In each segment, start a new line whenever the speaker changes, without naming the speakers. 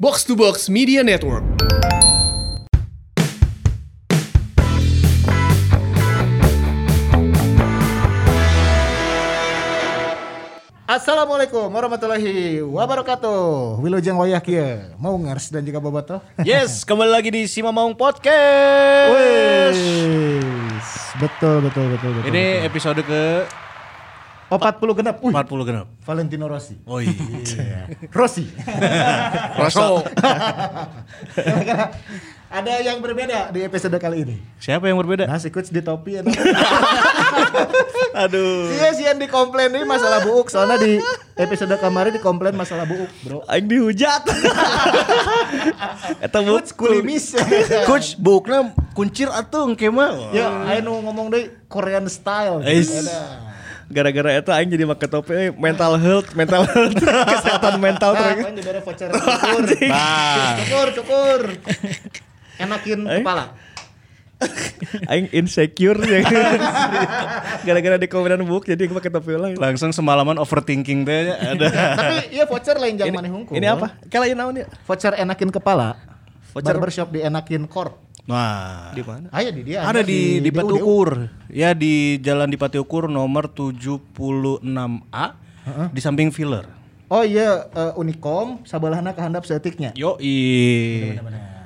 Box to Box Media Network.
Assalamualaikum warahmatullahi wabarakatuh. Wilujeng wayah kieu, mau ngers dan juga oh. bobotoh.
Yes, kembali lagi di Sima Maung Podcast.
Wes, betul betul betul betul.
Ini episode ke
oh, 40 genep. Wih,
40 genap.
Valentino Rossi. Ya.
Oh iya.
Rossi.
Rosso.
Ada yang berbeda di episode kali ini.
Siapa yang berbeda?
Nah, si Coach di topi ya.
Aduh.
Sia sih yang dikomplain ini masalah buuk soalnya di episode kemarin dikomplain masalah buuk, Bro.
Aing dihujat. Eta bu-
Coach kulimis.
Coach bukna kuncir atuh engke mah.
Ya, ayo nu ngomong deh Korean style.
Eis.
Ada.
Gara-gara eta aing jadi make topi eh, mental health, mental health, kesehatan mental
Nah,
Oh, ternyata. Nah.
kalian diberi voucher cukur. Cukur, cukur. Enakin
Eh?
kepala.
aing insecure ya. Gara-gara di komenan book jadi aku pakai topi ulang.
Langsung semalaman overthinking teh ada.
Tapi iya voucher lain jangan maneh hungkul.
Ini apa? Kalian naon ya?
Voucher enakin kepala.
Voucher-
Barbershop di enakin court.
Nah,
Di mana?
Ayo di dia.
ada di di Batu
UDU.
Ukur. Ya di Jalan Dipati Ukur nomor 76A di samping filler.
Oh iya eh, Unicom sabelahna kehandap seetiknya.
Yoi.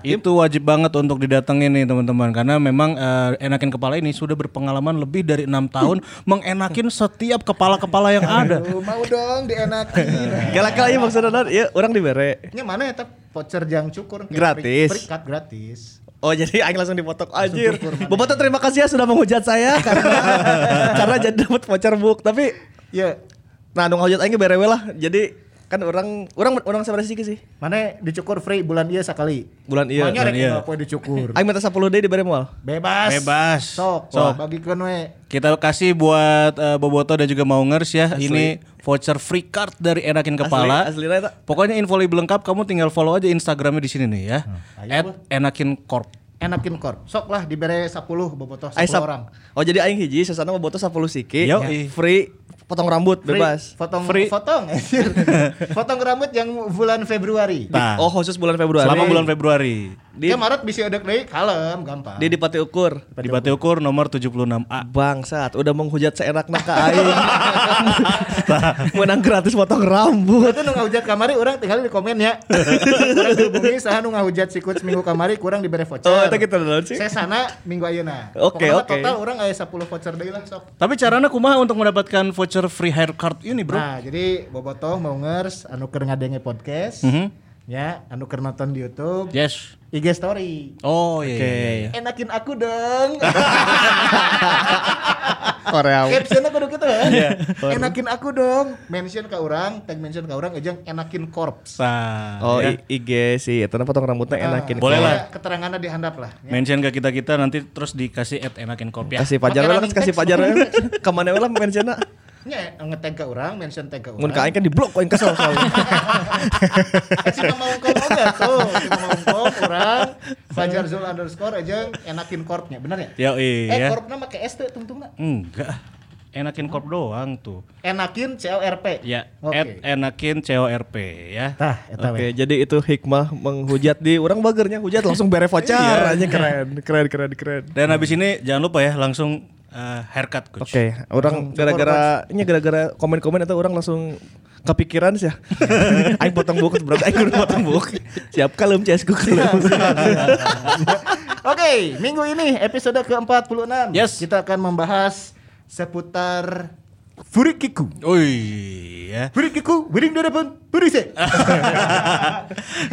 Itu wajib banget untuk didatengin nih teman-teman karena memang eh, enakin kepala ini sudah berpengalaman lebih dari enam tahun mengenakin setiap kepala-kepala yang ada.
Aduh, mau dong dienakin.
Galak-galak ya maksudnya naon? Ya orang dibere.
Ini mana ya tep voucher yang cukur Kayak
Gratis.
peri- Perikat gratis.
Oh jadi Aing langsung dipotok anjir. Bapak tuh terima kasih ya sudah menghujat saya karena, karena jadi dapat voucher book. Tapi
Ya,
nah dong hujat Aing ge berewe lah. Jadi kan orang orang orang sabar sih sih.
mana ya? dicukur free bulan iya sekali.
Bulan iya,
Makanya
bulan
rek
iya.
nggak poe dicukur.
Aing minta 10 day dibere moal.
Bebas.
Bebas.
Sok,
Sok.
bagi we.
Kita kasih buat eh, Boboto dan juga Maungers ya. Ini voucher free card dari Enakin Kepala.
asli lah, tak?
Pokoknya info lebih lengkap kamu tinggal follow aja Instagramnya di sini nih ya.
Hmm.
Ah, iya,
At Enakin Corp.
enakin kor sok lah dibere 10 bobotoh 10
Aing sap-
orang Iya.
Oh jadi Aing hiji sesana mau botos 10 siki.
Yo.
Ya. Free potong rambut
Free,
bebas.
potong
Free.
potong anjir. potong rambut yang bulan Februari
Nah,
Oh khusus bulan Februari.
selama bulan Februari
Di-
di ya Maret bisa ada deui kalem gampang
Di Dipati Ukur.
di Batu Ukur nomor 76A.
Bangsat, udah menghujat seenaknya ke Aing.
Nah.
Menang gratis potong rambut.
Berarti nu ngahujat kamari orang tinggal di komen ya. Urang dihubungi saha nu ngahujat si coach minggu kamari kurang dibere voucher.
Oh, eta kita download sih.
Saya sana minggu ayeuna. Pokoknya
Oke, oke.
Total orang aya 10 voucher deui lah sok.
Tapi caranya kumaha untuk mendapatkan voucher free hair card ini, Bro?
Nah, jadi bobotoh mau ngers anu keur ngadenge podcast.
Mhm.
Ya, anu keur nonton di YouTube.
Yes.
IG story.
Oh iya.
Oke.
iya, iya.
Enakin aku dong.
Korea.
Captionnya kudu gitu kan.
Iya.
Enakin aku dong. Mention ke orang, tag mention ke orang aja enakin korps.
Nah,
Oh
ya.
Iya.
i- IG sih, itu potong rambutnya
Ah.
enakin.
Boleh lah.
Kayak Keterangannya dihandap lah.
mention ke kita-kita nanti terus dikasih at Enakin Corp ya.
Kasih pajar
Pakai
lah,
running
kasih
text.
pajar lah. Kemana lah mentionnya?
Ya, ngetag ke orang, mention tag ke
Mun
orang.
kain kan di blok, kain kesel soalnya.
Cina Ah, mau ngkong oge tuh. Cina mau ngkong orang. Fajar Zul underscore aja enakin korpnya. Bener ya?
Yo,
Eh
iya.
korpnya pakai S tuh tungtungnya.
Enggak. Enakin Corp doang tuh.
Enakin CLRP.
Ya, at
Oke.
enakin CORP ya.
Tah, eta
Oke,
we.
jadi itu hikmah menghujat di orang bagernya hujat langsung bere
Iya.
voucher aja keren, keren, keren, keren.
Dan habis ini jangan lupa ya langsung eh, haircut coach.
Oke, orang gara-gara ini gara-gara komen-komen atau orang langsung kepikiran sih. ya. Aing potong buk, berarti aing kudu potong buk. Siap kalem CS ku kalem.
Oke, minggu ini episode ke-46
Yes.
kita akan membahas seputar Furikiku.
Oh iya.
Furikiku, wiring dua depan, furise.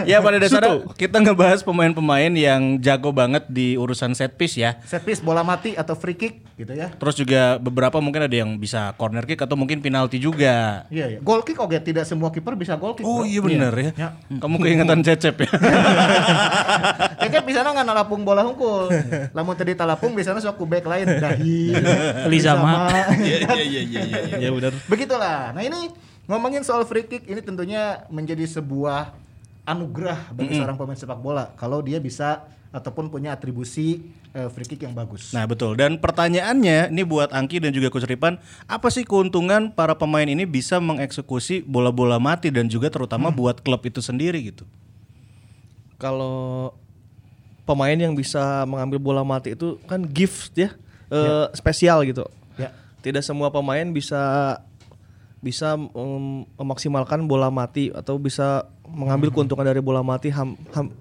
ya pada dasarnya kita ngebahas pemain-pemain yang jago banget di urusan set piece ya.
Servis bola mati atau free kick gitu ya.
Terus juga beberapa mungkin ada yang bisa corner kick atau mungkin penalti juga.
Iya, iya. Goal kick oke, tidak semua kiper bisa goal kick.
Oh
bro.
iya benar ya.
Ya.
Kamu keingetan Cecep ya.
Ya kan bisa nggak nalapung bola hungkul. Lamun tadi talapung biasanya sok ku back lain dahi.
Lizama.
Lizama.
iya iya iya.
Ya benar.
Begitulah. Nah, ini ngomongin soal free kick ini tentunya menjadi sebuah anugerah bagi seorang pemain sepak bola kalau dia bisa ataupun punya atribusi eh, free kick yang bagus.
Nah betul dan pertanyaannya ini buat Angki dan juga Coach Ripan apa sih keuntungan para pemain
Hmm.
ini bisa mengeksekusi bola-bola mati dan juga terutama buat klub itu sendiri gitu
kalau pemain yang bisa mengambil bola mati itu kan gift ya, eh, spesial gitu.
Ya.
Tidak semua pemain bisa bisa mem- memaksimalkan bola mati atau bisa mengambil
Hmm.
keuntungan dari bola mati ham, ham-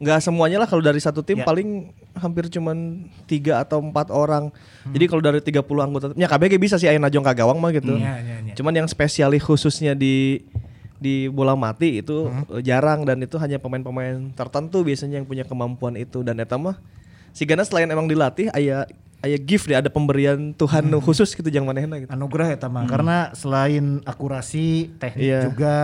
nggak semuanya lah kalau dari satu tim
Ya.
paling hampir cuman tiga atau empat orang.
Hmm.
Jadi kalau dari 30 anggota ya timnya KBG bisa sih Ayan Najong Kagawang mah gitu.
Ya, ya, ya.
Cuman yang spesialis khususnya di di bola mati itu
Hmm.
eh, jarang dan itu hanya pemain-pemain tertentu biasanya yang punya kemampuan itu dan eta mah si Gana selain emang dilatih aya aya gift deh ada pemberian Tuhan
Hmm.
nu khusus gitu jangan manehna gitu.
Anugerah ya Tama, karena selain akurasi, teknik
Iya.
juga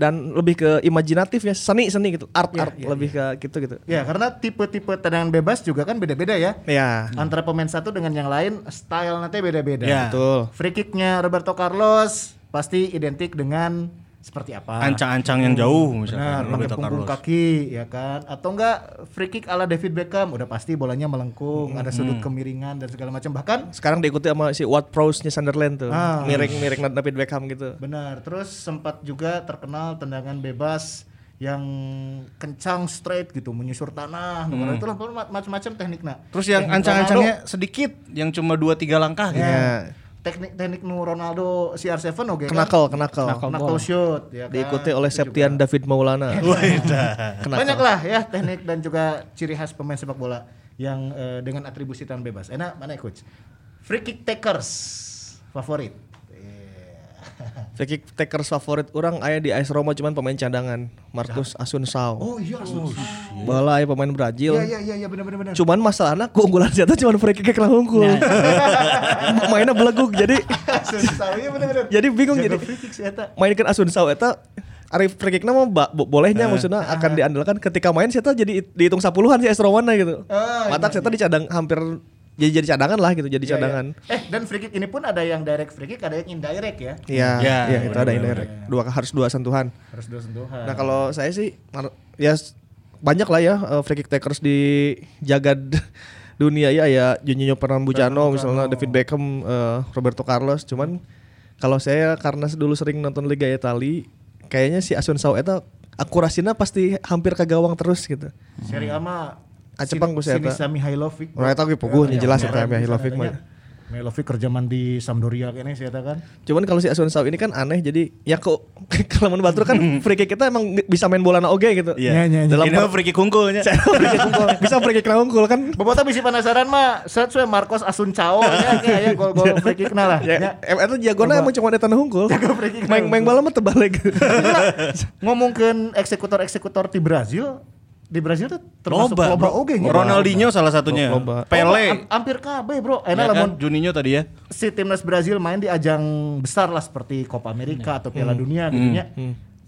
Dan lebih ke imajinatifnya seni-seni gitu, art
Iya,
art
iya,
lebih ke gitu gitu.
ya karena tipe-tipe tendangan bebas juga kan beda-beda ya.
Ya,
Antara pemain satu dengan yang lain style nanti
Ya.
beda-beda.
Iya. betul.
Free kicknya Roberto Carlos pasti identik dengan seperti apa?
Ancang-ancang yang jauh misalnya
Ah. Benar, pakai punggung kaki ya kan atau enggak free kick ala David Beckham udah pasti bolanya melengkung, ada sudut kemiringan dan segala macam bahkan
Sekarang diikuti sama si Watt Prowse-nya Sunderland tuh.
Ah.
Miring-miring David Beckham gitu.
benar terus sempat juga terkenal tendangan bebas yang kencang straight gitu menyusur tanah Nah, itu lah macam-macam teknik nah
Mm. Terus yang
Teknik
ancang-ancangnya sedikit, yang cuma 2 3 langkah gitu.
Ronaldo. Ya.
Ya.
teknik teknik nu Ronaldo CR7 oke
Kenakel, kenakel.
kan knuckle shoot ya kan
Diikuti oleh
Itu juga.
Septian David Maulana. Kenakel.
Banyaklah ya teknik dan juga ciri khas pemain sepak bola yang eh, dengan atribusi tangan bebas. Enak mana ya, coach? Free kick takers favorit. Iya.
Free kick takers favorit orang aya di AS Roma cuman pemain cadangan Marcus Asunsao.
Oh iya, Asunsao.
Bala aya pemain Brazil.
Iya iya iya iya benar benar benar.
Cuman masalahnya keunggulan Zeta cuman free kick kena unggul. Mainnya beleguk jadi
Asunsao iya benar benar.
jadi bingung
Jago
jadi
free kick si eta.
mainkan Asunsao eta Arif free kicknya mah ba- bo- bolehnya maksudnya akan diandalkan ketika main Zeta jadi it- dihitung sapuluhan si AS Romana gitu.
Ah,
Matak Zeta dicadang hampir jadi jadi cadangan lah gitu jadi
Iya,
cadangan.
iya. Eh dan free kick ini pun ada yang direct free kick, ada yang indirect ya.
Iya,
Ya,
iya itu ada
bener-bener.
indirect. Dua harus dua sentuhan.
Harus dua sentuhan.
Nah kalau saya sih mar- ya s- banyak lah ya eh, free kick takers di jagad dunia ya ya Juninho Pernambucano misalnya David Beckham eh, Roberto Carlos cuman kalau saya karena dulu sering nonton Liga Itali kayaknya si Asunsao eta akurasinya pasti hampir ke gawang terus gitu.
Seri ama
Acepang ku si eta.
Sinisa Mihailovic. Iya,
Nah, eta gue puguh, nih, jelas eta ya, Mihailovic mah.
Mihailovic kerja mandi Sampdoria kayaknya sih eta kan.
Cuman kalau si Asunsao ini kan aneh jadi ya kok kelamaan Batur kan free kick kita emang nge- bisa main bola na oge gitu.
Iya.
Iya, iya, iya.
Dalam
Ini mah free kick unggulnya.
Cara free kick unggul. bisa free kick na unggul kan
Bobotnya bisa penasaran mah, search we Marcos Ya, Asuncao nya nya aya gol-gol free kick lah.
Ya,
Ya.
em itu jagoannya emang cuma ada tanah hungkul.
free kick
Main main bola mah terbalik.
Ngomongkeun eksekutor-eksekutor di Brazil, di Brazil tuh termasuk
Loba,
loba,
bro.
oge gitu. nya.
Ronaldinho salah satunya.
Loba.
Am-
Pele.
hampir kabeh, Bro. ah, Enak
Ya
lamun
kan? Juninho tadi ya.
si timnas Brazil main di ajang besar lah seperti Copa America atau Piala Dunia gitu nya.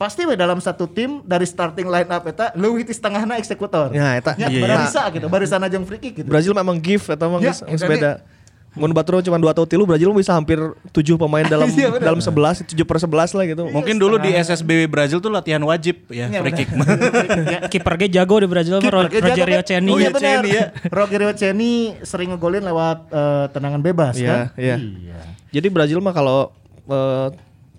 Pasti we dalam satu tim dari starting line up eta leuwih ti setengahna eksekutor.
Ya, eta.
Nya,
Iya, iya.
barisa gitu, barisan ajang free kick gitu.
Brazil memang gift atau emang
Ya,
geus- geus
jadi-
beda. Mun Batur cuma 2 atau 3 Brazil bisa hampir 7 pemain dalam
Iya, bener.
dalam 11, 7 per 11 lah gitu.
Mungkin dulu di SSBW Brazil tuh latihan wajib ya
Iya,
free
benar.
kick.
Ya.
Kipernya jago di Brazil sama Ro-
Kiper, dia
Rogerio
jago kan?
Ceni.
Oh iya benar.
Ceni ya.
Rogerio Ceni sering ngegolin lewat eh, tendangan bebas
Iya,
kan?
iya. Jadi Brazil mah kalau eh,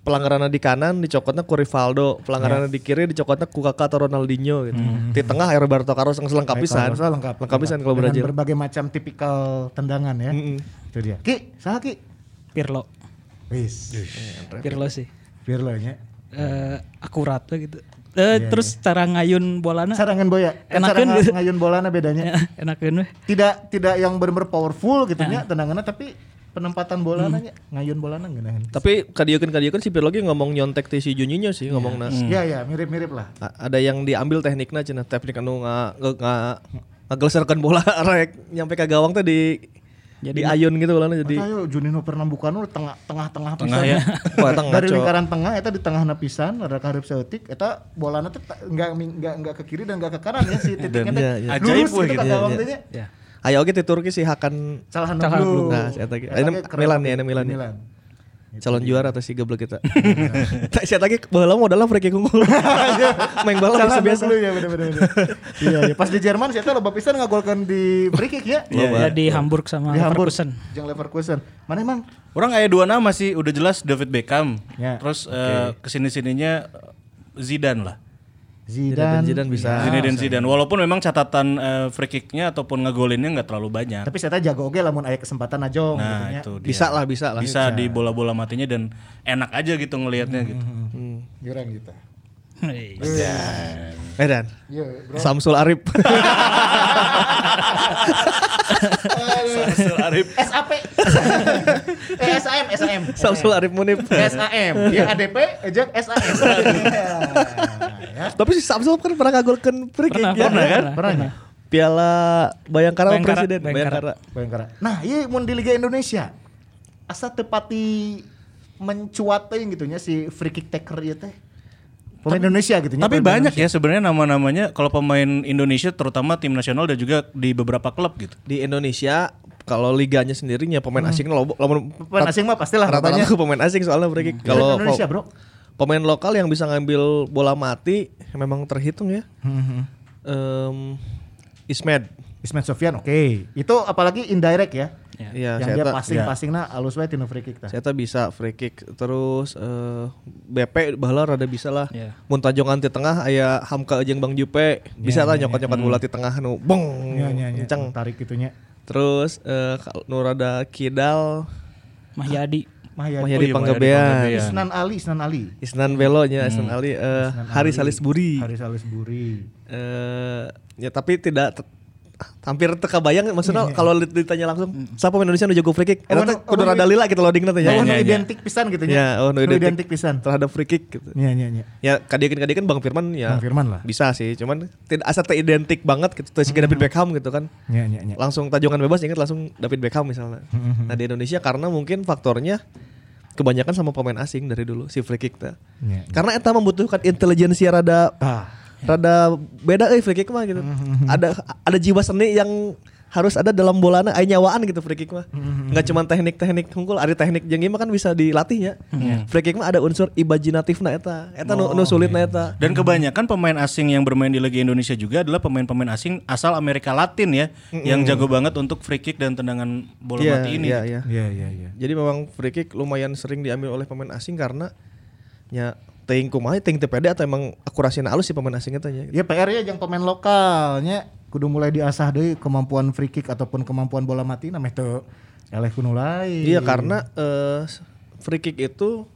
pelanggarannya di kanan dicokotnya ku Rivaldo, pelanggarannya di kiri dicokotnya ku Kakak atau Ronaldinho gitu. Di tengah ya Roberto Carlos yang lengkap pisan.
Kalau nggak salah lengkap.
Lengkap pisan kalau
Dengan
Brazil.
berbagai macam tipikal tendangan ya. Itu dia. Ki, saha Ki?
Pirlo.
Wis. ya.
Pirlo sih.
Pirlo nya.
Eh akurat we gitu. Eh terus cara ngayun
Nah,
bolana Ya,
Sarangan boya. Eh,
Enakeun
cara
gitu.
nga- ngayun bolana
Ya.
bedanya.
enakeun we.
Tidak tidak yang benar-benar powerful
Nah.
gitu nya tendangannya tapi penempatan bolana
Mm.
nya ngayun bolana nah? ngeunaheun.
Tapi kadiekeun kadiekeun si Pirlo ge ngomong nyontek ti si Juninho sih nah. ngomongna.
Iya ya, mirip-mirip lah.
A- ada yang diambil tekniknya cina teknik anu nga nga- nga ngegeleserkan bola rek nyampe ke gawang tuh di
Jadi-
diayun gitu bolanya
Jadi
jadi
ayo Juninho Pernambucano tengah tengah tengah
Tengah ya.
Wah, tengah,
Dari
Cok.
lingkaran tengah eta di tengah napisan ada karep seutik eta bolana teh ta- enggak mi- enggak enggak ke kiri dan enggak ke kanan ya si titiknya teh.
iya, iya.
Ajaib
Lurus gitu
weh
ke
gitu,
gawang
iya.
teh nya.
ayo oke di Turki sih Hakan
Calahan
Calahan
dulu.
dulu.
Nah, si eta ge.
Eta
Ini
ge keren
Milan
banget.
ya, ini Milan ya.
Milan.
calon juara atau si geblek kita tak siapa lagi bola modalnya free kick unggul main bola
Calahan
biasa biasa
dulu ya bener bener. bener. Iya iya pas di Jerman si eta loba pisan ngagolkeun di free kick ya.
Iya.
Ya, di Hamburg sama
Di Hamburg.
Leverkusen.
Jeung Leverkusen. Mana emang?
Orang kayak dua nama sih udah jelas David Beckham.
Ya.
Terus eh, kesini-sininya eh, Zidane lah.
Zidane,
Ah, Zidane bisa.
Ya.
Zinedine Zidane. Walaupun memang catatan eh, free kicknya ataupun ngegolinnya nggak terlalu banyak.
Tapi saya jago oke lamun aya kesempatan ajong
nah
gitu nya.
itu dia.
Bisa lah, bisa lah.
Bisa di bola-bola matinya dan enak aja gitu ngelihatnya gitu.
Jurang gitu.
Hei.
Eh Dan,
Iya, bro.
Samsul Arif.
Samsul Arif.
SAP. eh, SAM, SAM.
Samsul Arif Munif.
Iya. SAM. Dia ADP, ejek SAM. Ya.
Tapi si Samsul kan pernah kagolkan free kick
Pernah,
ya?
pernah kan?
Pernah ya?
Piala Bayangkara,
Bayangkara,
Presiden
Bayangkara.
Bayangkara.
Bayangkara. Nah, iya mun di Liga Indonesia. Asa tepati mencuat teh gitu nya si free kick taker ieu teh. Pemain Indonesia gitu nya.
Tapi
pemain
banyak ya sebenarnya nama-namanya kalau pemain Indonesia terutama tim nasional dan juga di beberapa klub gitu.
Di Indonesia kalau liganya sendirinya pemain asing lo,
Indonesia. pemain asing mah pastilah
rata-rata
rata-rata.
ke pemain asing soalnya free kick. Kalau
Indonesia, Bro.
kalau pemain lokal yang bisa ngambil bola mati memang terhitung ya. Em, Ismed.
Ismail Sofyan oke. Itu apalagi indirect ya.
Iya,
yang
saya
dia
tak-
passing passing nah alus wae tina free kick tah.
Saya tak bisa free kick terus eh, BP bahala rada bisa lah.
Iya.
Ya.
Mun tajongan di tengah aya Hamka jeung Bang Jupe
Ya,
bisa lah nyokot-nyokot
Hmm.
bola di tengah nu bong kenceng.
tarik itunya.
Terus eh kalau nu rada kidal
Mahyadi.
Mahyadi.
Mahyadi
iya, Mahyadi
Panggabean.
Panggabean.
Isnan Ali, Isnan Ali.
Isnan Belo nya Isnan Ali eh, Haris Salisbury.
Haris Salisbury.
Eh ya tapi tidak te- hampir teka bayang maksudnya kalau li- ditanya langsung siapa pemain Indonesia nu jago free kick? Eta
Awan-
teh kudu
awan-
rada lila gitu loadingna teh
Ya,
ya.
nu identik pisan gitu
Ya, oh, nu identik
pisan.
terhadap free kick gitu.
Iya, iya, iya.
Ya kadiekin kadiekin Bang Firman ya.
Bang Firman lah.
Bisa sih, cuman tidak asa teu identik banget gitu. Teu si David Beckham gitu kan.
Iya, iya, iya.
Langsung tajongan bebas ingat langsung David Beckham misalnya. Nah, di Indonesia karena mungkin faktornya kebanyakan sama pemain asing dari dulu si free kick teh.
Iya.
Karena eta membutuhkan intelijensia rada
Ah.
rada beda euy free kick mah gitu. Ada ada jiwa seni yang harus ada dalam bolana aya nyawaan gitu free kick mah. Enggak cuma teknik-teknik hungkul, ada teknik jeung ieu mah kan bisa dilatihnya. Free kick mah ada unsur imajinatifna eta. Eta nu, nu sulitna eta.
Dan kebanyakan pemain asing yang bermain di Liga Indonesia juga adalah pemain-pemain asing asal Amerika Latin ya, yang jago banget untuk free kick dan tendangan bola
Iya,
mati ini.
iya,
gitu.
iya.
Iya, iya, iya.
Jadi memang free kick lumayan sering diambil oleh pemain asing karena ya ting kumaha ting teu pede atau emang akurasinya halus si pemain asing eta nya.
Ya PR-nya yang pemain lokalnya kudu mulai diasah deui kemampuan free kick ataupun kemampuan bola mati namanya teu eleh kuno lain.
Iya karena eh, free kick itu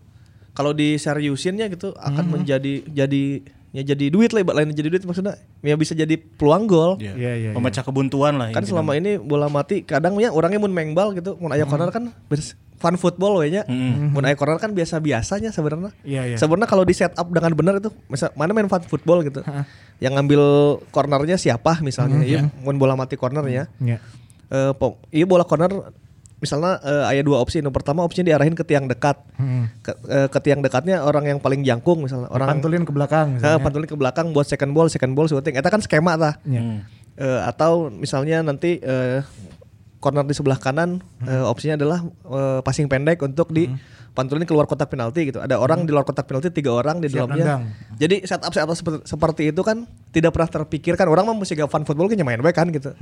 kalau diseriusinnya gitu akan menjadi jadi ya jadi duit lah ibarat lain jadi duit maksudnya ya bisa jadi peluang gol.
Iya.
Iya, iya,
Pemecah kebuntuan lah
Kan
intinya.
selama ini bola mati kadang ya orangnya mun mengbal gitu mun aya corner kan beres- fun football we nya. Mun aya corner kan biasa-biasanya sebenarnya.
Iya, iya.
Sebenarnya kalau di set up dengan benar itu misal mana main fun football gitu. Yang ngambil cornernya siapa misalnya. Iya, mun bola mati cornernya.
Iya.
Eh, pom- iya bola corner misalnya eh, ada dua opsi. Yang pertama opsinya diarahin ke tiang dekat. Ke, eh, ke tiang dekatnya orang yang paling jangkung misalnya orang
Pantulin ke belakang misalnya.
Nah, pantulin ke belakang buat second ball, second ball shooting. Eta kan skema tah.
Iya.
Eh, atau misalnya nanti eh, corner di sebelah kanan
Hmm.
eh, opsinya adalah eh, passing pendek untuk di pantulin keluar kotak penalti gitu. Ada
Hmm.
orang di luar kotak penalti tiga orang di
Siap nendang.
dalamnya. Jadi setup setup seperti, seperti itu kan tidak pernah terpikirkan. Orang mah mesti gak fun football kan main baik kan gitu.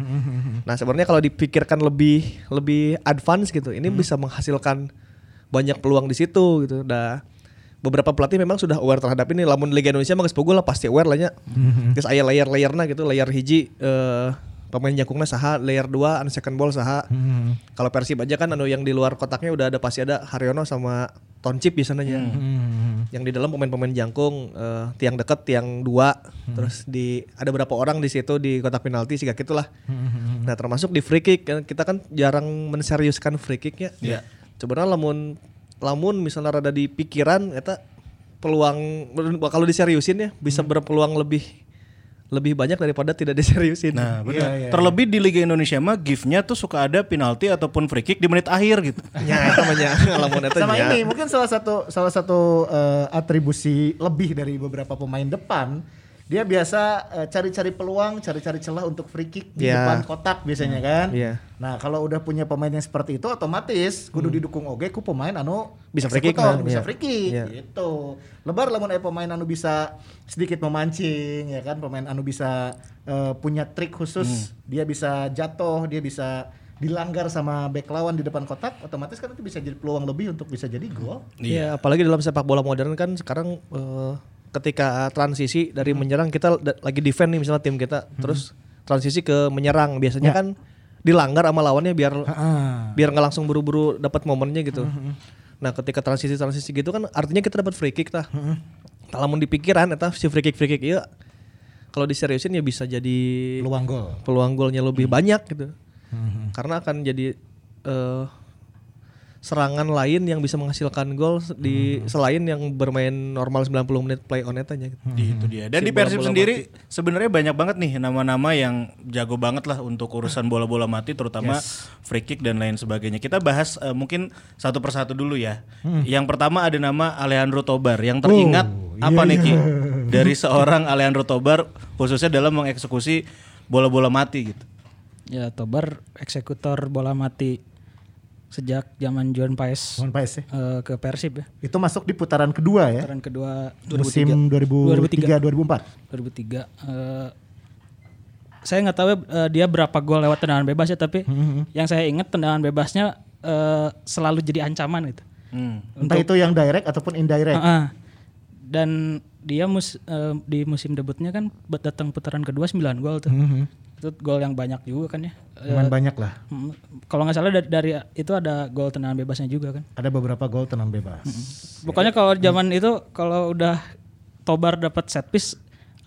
Nah sebenarnya kalau dipikirkan lebih lebih advance gitu, ini
Hmm.
bisa menghasilkan banyak peluang di situ gitu. Dah beberapa pelatih memang sudah aware terhadap ini. Lamun Liga Indonesia mah geus pogo lah pasti aware lah nya. Geus aya layer-layerna gitu, layer hiji eh, pemain jangkungnya saha, layer dua anu second ball saha.
Hmm.
Kalau Persib aja kan anu yang di luar kotaknya udah ada pasti ada Haryono sama Toncip biasanya.
Hmm.
Yang di dalam pemain-pemain jangkung eh, tiang deket, tiang dua,
Hmm.
terus di ada berapa orang di situ di kotak penalti sih kayak gitulah.
Hmm.
Nah, termasuk di free kick kan kita kan jarang menseriuskan free kicknya.
Iya.
Sebenarnya lamun lamun misalnya rada di pikiran eta peluang kalau diseriusin ya bisa
Hmm.
berpeluang lebih lebih banyak daripada tidak diseriusin.
Nah, benar.
Iya, iya,
Terlebih di Liga Indonesia mah gift-nya tuh suka ada penalti ataupun free kick di menit akhir gitu.
Ya, eta mah nya. lamun eta
Sama
nya.
ini mungkin salah satu salah satu eh, atribusi lebih dari beberapa pemain depan dia biasa eh, cari-cari peluang, cari-cari celah untuk free kick di
Iya.
depan kotak biasanya kan.
Iya.
Nah kalau udah punya pemain yang seperti itu, otomatis kudu didukung oge ku pemain anu
Bisa free kick,
eksekutor,
nah,
bisa
iya.
free kick
Iya.
gitu. Lebar lamun aya pemain anu bisa sedikit memancing ya kan, pemain anu bisa eh, punya trik khusus, dia bisa jatuh, dia bisa dilanggar sama back lawan di depan kotak, otomatis kan itu bisa jadi peluang lebih untuk bisa jadi gol.
Iya, apalagi dalam sepak bola modern kan sekarang eh, ketika transisi dari
Hmm.
menyerang kita da- lagi defend nih misalnya tim kita terus transisi ke menyerang biasanya
Ya.
kan dilanggar sama lawannya biar biar nggak langsung buru-buru dapat momennya gitu.
Hmm,
Nah, ketika transisi-transisi gitu kan artinya kita dapat free kick tah.
Hmm,
Tak lamun di pikiran eta si free kick free kick iya kalau diseriusin ya bisa jadi
Peluang gol.
peluang golnya lebih banyak gitu. Karena akan jadi eh, serangan lain yang bisa menghasilkan gol se- di selain yang bermain normal 90 menit play on etanya gitu.
Di- Itu dia. Dan
Si
di Persib
bola-bola
sendiri sebenarnya banyak banget nih nama-nama yang jago banget lah untuk urusan bola-bola mati terutama free kick dan lain sebagainya. Kita bahas eh, mungkin satu persatu dulu ya.
Hmm.
Yang pertama ada nama Alejandro Tobar yang teringat
Oh, iya,
apa nih Ki? Dari seorang Alejandro Tobar khususnya dalam mengeksekusi bola-bola mati gitu.
Ya Tobar eksekutor bola mati sejak zaman Juan Paes
Lawan PSC.
eh, ke Persib ya.
ya. Itu masuk di putaran kedua ya.
Putaran kedua
Musim 2003 2004.
2003 eh, saya nggak tahu ya, eh, dia berapa gol lewat tendangan bebas ya tapi yang saya ingat tendangan bebasnya eh, selalu jadi ancaman gitu
Hmm.
Entah itu yang direct ataupun indirect.
Heeh. dan dia mus- eh, di musim debutnya kan buat datang putaran kedua 9 gol tuh
Hmm.
itu gol yang banyak juga kan ya Ah. Eh,
Lumayan Mhm. banyak lah.
mm, kalau nggak salah dari, dari itu ada gol tendangan bebasnya juga kan
Ada beberapa gol tenang bebas.
pokoknya kalau zaman itu kalau udah Tobar dapat set piece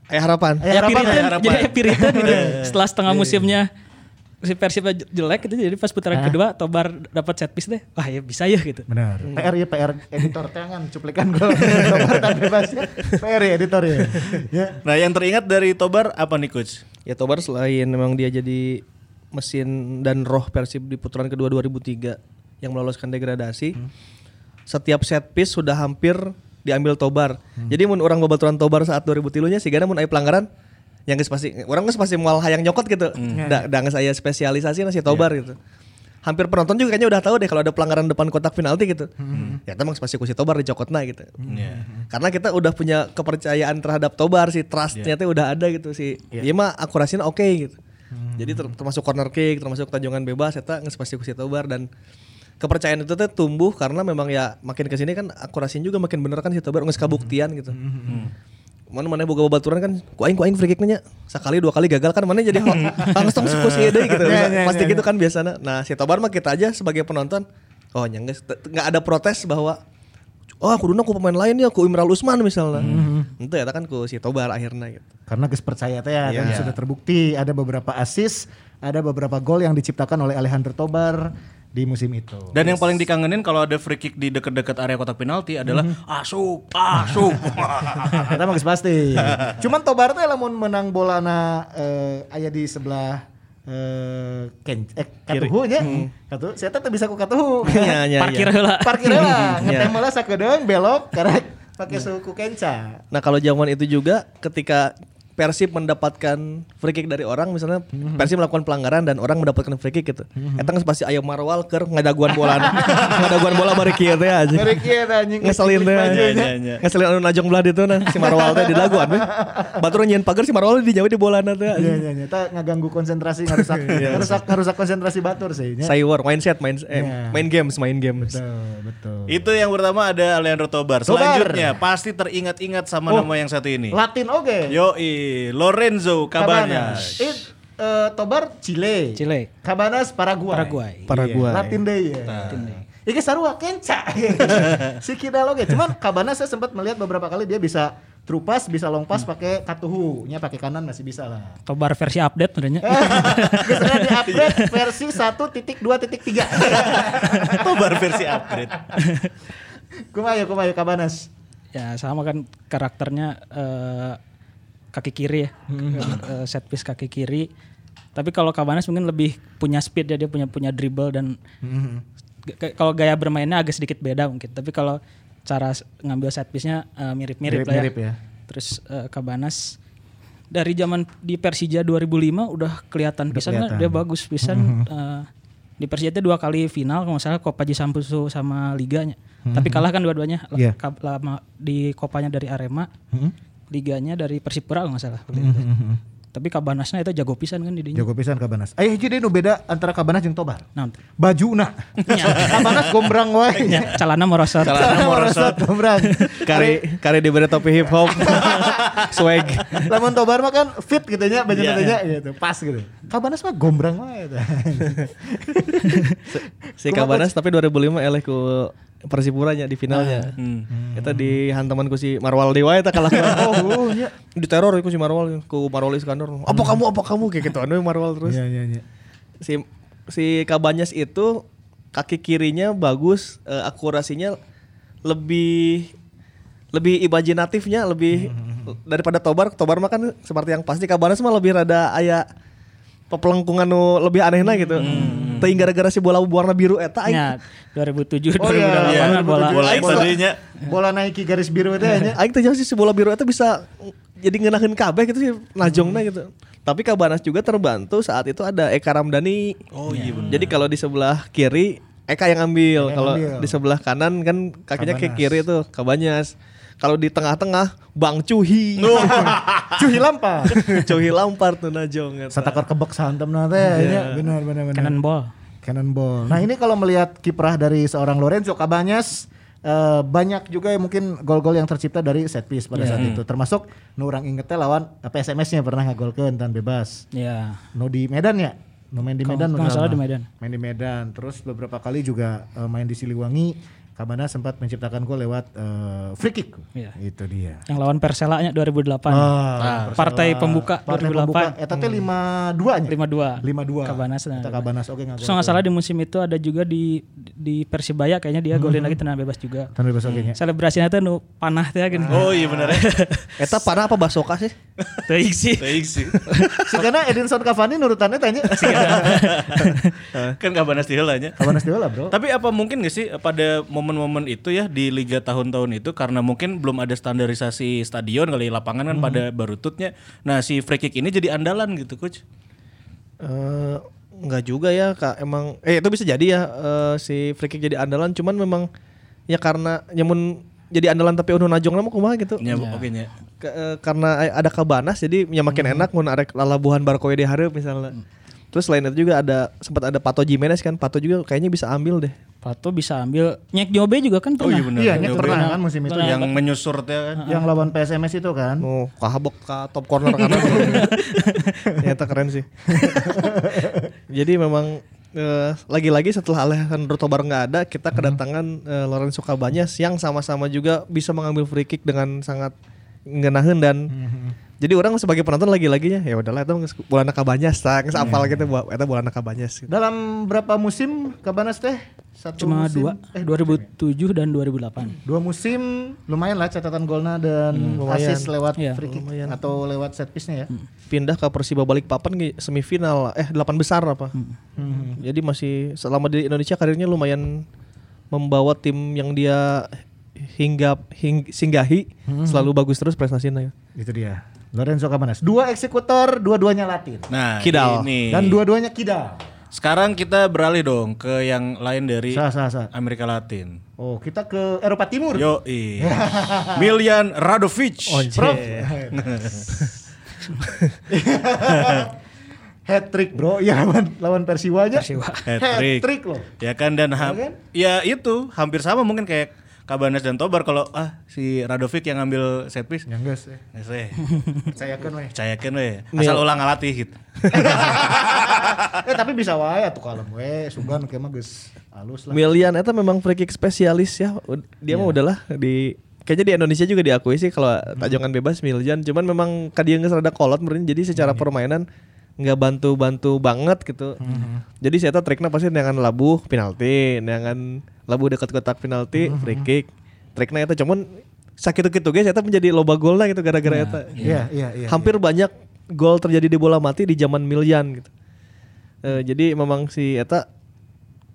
Kayak harapan.
Eh,
Happy
harapan,
return,
eh, harapan. Iya.
jadi happy return gitu. Setelah setengah musimnya si Persib jelek itu jadi pas
Ah.
putaran kedua Tobar dapat set piece deh. Wah, ya bisa ya gitu.
Benar. PR ya PR editor tangan cuplikan gol. Nomor tenang bebas ya. PR ya editor ya. ya.
Nah, yang teringat dari Tobar apa nih coach?
Ya Tobar selain memang dia jadi mesin dan roh Persib di putaran kedua 2003 yang meloloskan degradasi. Setiap set piece sudah hampir diambil Tobar. Jadi mun orang babaturan Tobar saat 2003 nya sih mun aya pelanggaran yang geus pasti orang geus pasti moal hayang nyokot gitu. Da, da geus aya spesialisasi nasi Tobar gitu. Hampir penonton juga kayaknya udah tahu deh kalau ada pelanggaran depan kotak penalti gitu. Ya emang pasti ku si Tobar dicokotna gitu.
Ya.
Karena kita udah punya kepercayaan terhadap Tobar sih, trustnya tuh udah ada gitu sih. Iya mah akurasinya oke gitu. Jadi ter- termasuk corner kick, termasuk tanjongan bebas, eta nggak pasti ku si Tobar dan kepercayaan itu tuh tumbuh karena memang ya makin kesini kan akurasinya juga makin bener kan si Tobar nggak kabuktian gitu. Mana mana boga babaturan kan, ku aing ku aing free kicknya nya. sekali dua kali gagal kan mana jadi hot. langsung si ku si deui gitu. Pasti gitu kan biasanya. Nah, si Tobar mah kita aja sebagai penonton oh nyangges nggak ada protes bahwa Oh, aku dulu aku pemain lain ya, aku Imral Usman misalnya. Itu ya kan ku si Tobar akhirnya gitu.
Karena geus percaya teh
Iya.
ya, dan sudah terbukti ada beberapa assist, ada beberapa gol yang diciptakan oleh Alejandro Tobar di musim itu.
Dan yang paling dikangenin kalau ada free kick di deket-deket area kotak penalti adalah
Hmm.
asup, asup.
Eta mah geus pasti. Cuman Tobar teh lamun menang bola na eh, aya di sebelah eh ken eh katuhu nya. Katuhu saya teh teu bisa ku katuhu.
Hmm. Iya, iya,
Parkir
iya.
heula.
Parkir lah, ngetem lah sakedeung belok karek
Iya.
pakai suku kenca.
Nah, kalau zaman itu juga ketika Persib mendapatkan free kick dari orang misalnya Persib melakukan pelanggaran dan orang mendapatkan free kick gitu. Eta geus pasti ayo marwal keur ngadaguan bola. anu. ngadaguan bola bari kieu teh anjing.
Bari kieu teh anjing.
Ngeselin teh.
Iya, iya, iya.
Ngeselin anu najong belah ditu nah si marwal teh didaguan weh. Batur nyian pagar si marwal dinyawa di bola nah, teh.
Iya iya iya, Eta ngaganggu konsentrasi, ngarusak ngarusak ngarusak konsentrasi batur sih iya. nya.
Cyber mindset main eh,
Iya.
main games, main games.
Betul, betul.
Hmm. Itu yang pertama ada Leandro Tobar.
Tobar. Oh.
Selanjutnya pasti teringat-ingat sama nama yang satu ini.
Latin oge.
Yoi, Lorenzo Cabanas.
Cabanas. It, eh, Tobar Chile.
Chile.
Cabanas Paraguay.
Paraguay.
Paraguay.
Iya, Latin deh ya. Iki sarua kenca. si kidal oge. Cuman Cabanas saya sempat melihat beberapa kali dia bisa trupas, bisa long pass pakai katuhu. Nya pakai kanan masih bisa lah.
Tobar versi update sebenarnya.
Ah. Biasanya di update versi 1.2.3.
Tobar versi upgrade.
kumayo kumayo Cabanas.
ya sama kan karakternya eh, kaki kiri ya.
Hmm.
Eh, set piece kaki kiri. Tapi kalau Cabanas mungkin lebih punya speed ya dia punya punya dribble dan G- kayak- kalau gaya bermainnya agak sedikit beda mungkin. Tapi kalau cara s- ngambil set piece-nya eh, mirip-mirip lah
Mirip-mirip ya.
Terus eh, Cabanas dari zaman di Persija 2005 udah kelihatan pisan lah, dia bagus pisan Eh, di Persija itu dua kali final kalau nggak salah Copa Sampusu sama liganya. Tapi kalah kan dua-duanya La-
Iya.
kap- lama di kopanya dari Arema. Liganya dari Persipura kalau nggak salah. waktu itu. Tapi Kabanasnya itu jago pisan kan di dinya.
Hmm. Jago pisan Kabanas. Eh, Aya hiji deui nu beda antara Kabanas jeung Tobar.
Nah,
Bajuna. Kabanas gombrang wae.
ya, calana merosot.
Celana morosot.
gombrang.
Kare kare diberi topi hip hop. Swag.
Lamun Tobar mah kan fit gitu nya, banyak
Iya.
yeah. gitu, pas gitu. Kabanas mah gombrang wae. tah.
Si Kabanas tapi 2005 eleh ya, ku Persipuranya di finalnya.
Hmm.
Eta dihantaman ku si Marwal Dewa eta kalah. Hmm. oh, iya. Diteror ku si Marwal ku Marwal Iskandar. Apa kamu apa kamu kayak gitu anu Marwal terus.
Iya iya iya.
si si Kabanyas itu kaki kirinya bagus eh, akurasinya lebih lebih imajinatifnya lebih daripada Tobar Tobar mah kan seperti yang pasti Kabanyas mah lebih rada aya pepelengkungan nu lebih anehna gitu Teuing gara-gara si bola warna biru eta aing
Ya, 2007
Oh,
2008
iya,
kan bola.
Bola
Aing
tadinya.
Bola naiki garis biru teh nya.
Ya, aing teh jauh sih si bola biru itu bisa jadi ngenahin kabeh gitu sih najongna gitu. Tapi Kabanas juga terbantu saat itu ada Eka Ramdhani. Hmm.
Oh iya benar.
Jadi kalau di sebelah kiri Eka yang ambil,
yang
kalau
ngambil.
di sebelah kanan kan kakinya ke kiri tuh Kabanyas. Kalau di tengah-tengah Bang Cuhi.
Cuhi lampa.
Cuhi lampar tuh najong gitu. eta.
Satakar kebek santem na teh nya. Benar benar benar.
Cannonball.
Cannonball. Nah ini kalau melihat kiprah dari seorang Lorenzo Cabanyas eh, banyak juga yang mungkin gol-gol yang tercipta dari set piece pada
Iya.
saat itu termasuk nu orang ingetnya lawan PSMS-nya pernah ngagolkeun tan bebas.
Ya.
No di Medan ya? No main di
Kalau-
Medan.
kalau nggak
Utama.
salah di Medan.
Main di Medan. Terus beberapa kali juga eh, main di Siliwangi. Kabana sempat menciptakan gol lewat eh, free kick.
Iya.
Itu dia.
Yang lawan Perselanya 2008.
Ah,
Partai pembuka
Partai
2008.
pembuka. Eta teh 5-2 nya?
5-2.
5-2.
Kabanas. nah.
Eta Kabanas oke
Terus
ngagolkeun.
kalau nggak salah di musim itu ada juga di di Persibaya kayaknya dia
Hmm.
golin lagi tendangan bebas juga.
Tan bebas oge nya.
Selebrasinya tuh nu panah teh gini.
Oh iya benar.
Eta parah apa basoka sih?
Teuing sih.
Baik sih.
Sigana Edinson Cavani nurutannya tanya.
Kan Kabanas di heula nya.
Kabanas dewa lah bro.
Tapi apa mungkin gak sih pada momen-momen itu ya di liga tahun-tahun itu karena mungkin belum ada standarisasi stadion kali lapangan kan
Hmm.
pada baru tutnya. Nah, si free kick ini jadi andalan gitu, coach.
Eh, nggak juga ya kak emang eh itu bisa jadi ya eh, si free kick jadi andalan cuman memang ya karena nyamun jadi andalan tapi udah najong nama kumaha gitu
Ya,
Iya.
oke nya.
Ka- eh, karena ai- ada kabanas jadi ya makin enak mun arek lalabuhan barkoe di hareup misalnya terus selain itu juga ada sempat ada Pato Jimenez kan Pato juga kayaknya bisa ambil deh
Pato bisa ambil nyek Jobe juga kan
Oh
pernah.
iya benar.
Iya, Nyek pernah kan musim itu.
yang menyusur teh kan.
Yang lawan PSMS itu kan.
oh kahabok ka top corner kanan ternyata keren sih jadi memang eh, Lagi-lagi setelah Alejandro Tobar nggak ada, kita kedatangan eh, Lorenzo Cabanyas yang sama-sama juga bisa mengambil free kick dengan sangat ngenahin dan jadi orang sebagai penonton lagi-laginya ya udahlah itu bola anak Cabanyas, tak apal gitu buat itu bola anak Cabanyas. Gitu.
Dalam berapa musim Kabanas teh? Satu
Cuma
musim?
dua,
Eh,
2007 dan 2008.
dua musim lumayan lah catatan golnya dan asis lewat
Iya,
free kick atau lewat set piece-nya ya.
Hmm. pindah ke Persiba Balikpapan ke semifinal eh delapan besar apa. Hmm, Jadi masih selama di Indonesia karirnya lumayan membawa tim yang dia hinggap hing- singgahi selalu bagus terus prestasinya.
Itu dia. Lorenzo Cabanas. Dua eksekutor, dua-duanya Latin.
Nah,
Kidal.
ini.
Dan dua-duanya kidal.
Sekarang kita beralih dong ke yang lain dari
Sah, sah, sah.
Amerika Latin.
Oh, kita ke Eropa Timur.
Yo, Milian Radovic.
Prof. Hat trick, Bro. Ya lawan lawan Persiwanya.
Persiwa.
Hat-trick.
Hat-trick loh.
Ya kan dan ham-
Ya kan?
ya itu hampir sama mungkin kayak Kabanas dan Tobar kalau ah si Radovic yang ngambil set piece. Nah,
Yang geus. eh.
Nges we.
Percayakeun we.
Percayakeun we. kan, Asal ulang ngalatih gitu.
Eh tapi bisa wae atuh kalem we. Sugan ke mah geus alus lah. Iya.
Milian itu memang free kick spesialis ya. Ud- Dia mah udahlah di kayaknya di Indonesia juga diakui sih kalau tajongan bebas Milian. Cuman memang kadieu geus rada kolot meureun jadi secara
Iya.
permainan nggak bantu-bantu banget gitu.
Mm-hmm.
Jadi saya tahu triknya pasti dengan labuh penalti, dengan labuh dekat kotak penalti
Mm-hmm.
free kick. Triknya itu cuman sakit gitu guys, eta menjadi loba golna gitu gara-gara eta.
Iya, iya, iya.
Hampir banyak gol terjadi di bola mati di zaman Milian gitu. Eh, jadi memang si Eta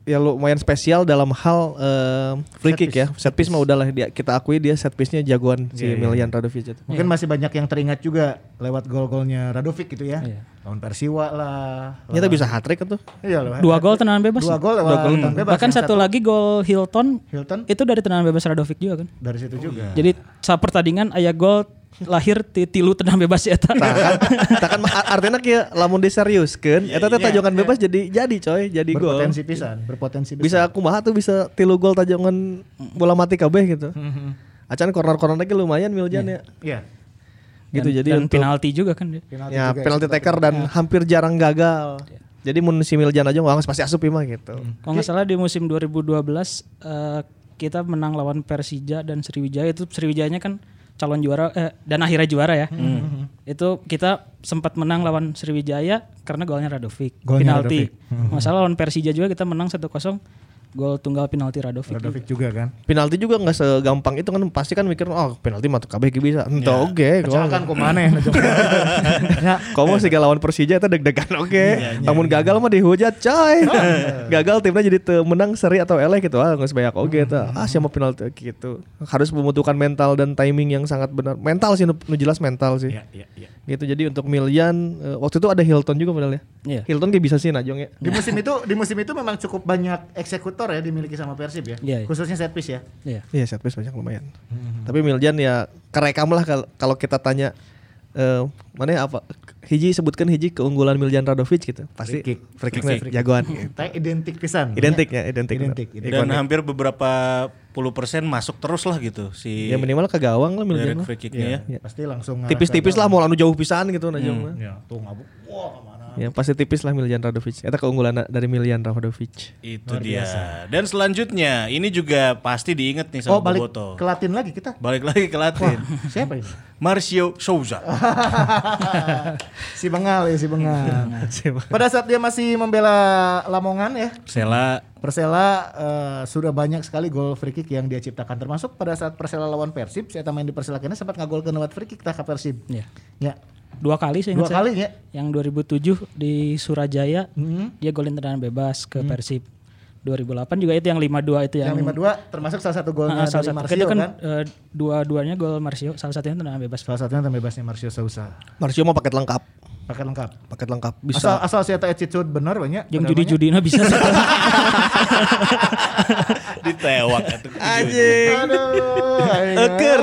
ya lumayan spesial dalam hal eh, free kick ya. Set Iya, piece mah udahlah dia kita akui dia set piece-nya jagoan si Milian Radovic itu.
Mungkin masih banyak yang teringat juga lewat gol-golnya Radovic gitu ya. Lawan Persiwa lah.
Ternyata bisa hat trick tuh.
Iya loh.
Dua gol tendangan bebas.
Dua gol lewat tendangan bebas.
Bahkan
Yang
satu, lagi gol Hilton
Hilton Nah.
itu dari tendangan bebas Radovic juga kan.
dari situ juga.
Jadi saat pertandingan aya gol lahir ti tilu tenang bebas ya ta.
Takan kan artinya kia lamun diseriuskeun eta teh tajongan bebas jadi jadi coy, jadi gol.
berpotensi pisan, berpotensi
Bisa kumaha tuh bisa tilu gol tajongan bola mati kabeh gitu. Acan corner-corner lagi lumayan Miljan ya.
Iya.
Gitu
Dan-
jadi
dan
untuk-
penalti juga kan dia.
Penalti
ya
juga
penalti taker dan hampir jarang gagal. Jadi mun si Miljan aja wah pasti asup imah gitu.
Kalau nggak salah di musim 2012 eh, kita menang lawan Persija dan Sriwijaya itu Sriwijayanya kan calon juara eh, dan akhirnya juara ya. Itu kita sempat menang lawan Sriwijaya karena golnya Radovic
Golnya
penalti.
Radovic.
Masalah lawan Persija juga kita menang 1-0 gol tunggal penalti Radovic.
Radovic juga kan.
Penalti juga nggak segampang itu kan pasti kan mikir oh penalti mah tuh kabeh ge bisa. Ente oge Eh, gol.
Akan kemana ya? Ya,
Komo sih lawan Persija itu deg-degan oke. Namun gagal mah dihujat coy. gagal timnya jadi teu menang seri atau eleh gitu. Ah geus banyak oge eta. Ah siapa penalti gitu. Harus membutuhkan mental dan timing yang sangat benar. Mental sih nu nu jelas mental sih.
Iya, iya, iya.
Gitu jadi untuk Miljan eh, waktu itu ada Hilton juga padahal ya.
Iya.
Hilton kayak bisa sih najong ya.
di musim itu di musim itu memang cukup banyak eksekutor ya dimiliki sama Persib ya.
Iya, iya.
Khususnya set piece ya.
Iya.
Iya set piece banyak lumayan. Tapi Miljan ya kerekam lah kal- kalau kita tanya eh mana ya, apa hiji sebutkan hiji keunggulan Miljan Radovic gitu pasti
Free kick.
free kicknya jagoan gitu.
Tapi identik pisan.
Identik ya, identik.
Identik,
benar.
Dan hampir beberapa puluh persen masuk terus lah gitu si
Ya minimal ke gawang lah Miljan
direct
mah.
free kicknya ya.
Iya.
Pasti langsung ngarah
Tipis-tipis
ke-
lah mau anu jauh pisan gitu najong mah.
Ya, tuh ngabuk. Wah, kemana?
Ya pasti tipis lah Miljan Radovic. Eta keunggulan dari Miljan Radovic.
Itu dia. Dan selanjutnya ini juga pasti diinget nih sama
Oh, balik
Boboto.
ke Latin lagi kita.
balik lagi ke Latin.
Siapa ini?
Marcio Souza.
si Bengal ya, si Bengal. Pada saat dia masih membela Lamongan ya,
Sela
Persela eh, sudah banyak sekali gol free kick yang dia ciptakan termasuk pada saat Persela lawan Persib saya main di Persela kena sempat ngagolkan lewat free kick tah ke Persib.
Iya.
Ya,
Dua kali saya
dua
ingat saya.
kali ya.
Yang 2007 di Surajaya dia golin tendangan bebas ke Persib. 2008 juga itu yang 5-2 itu yang,
Yang 5-2 termasuk salah satu golnya
Ah, salah
dari
satu
Marcio
itu
kan.
kan, eh, dua-duanya gol Marcio, salah satunya tendangan bebas.
Salah satunya tambah bebasnya Marcio Sousa.
Marcio mah paket lengkap.
Pakai lengkap.
Paket lengkap
Asal
bisa. Iya.
asal si eta attitude benar banyak.
Yang judi-judina bisa sih.
ditewak atuh.
Anjing.
Aduh. ayeuna.
Eker.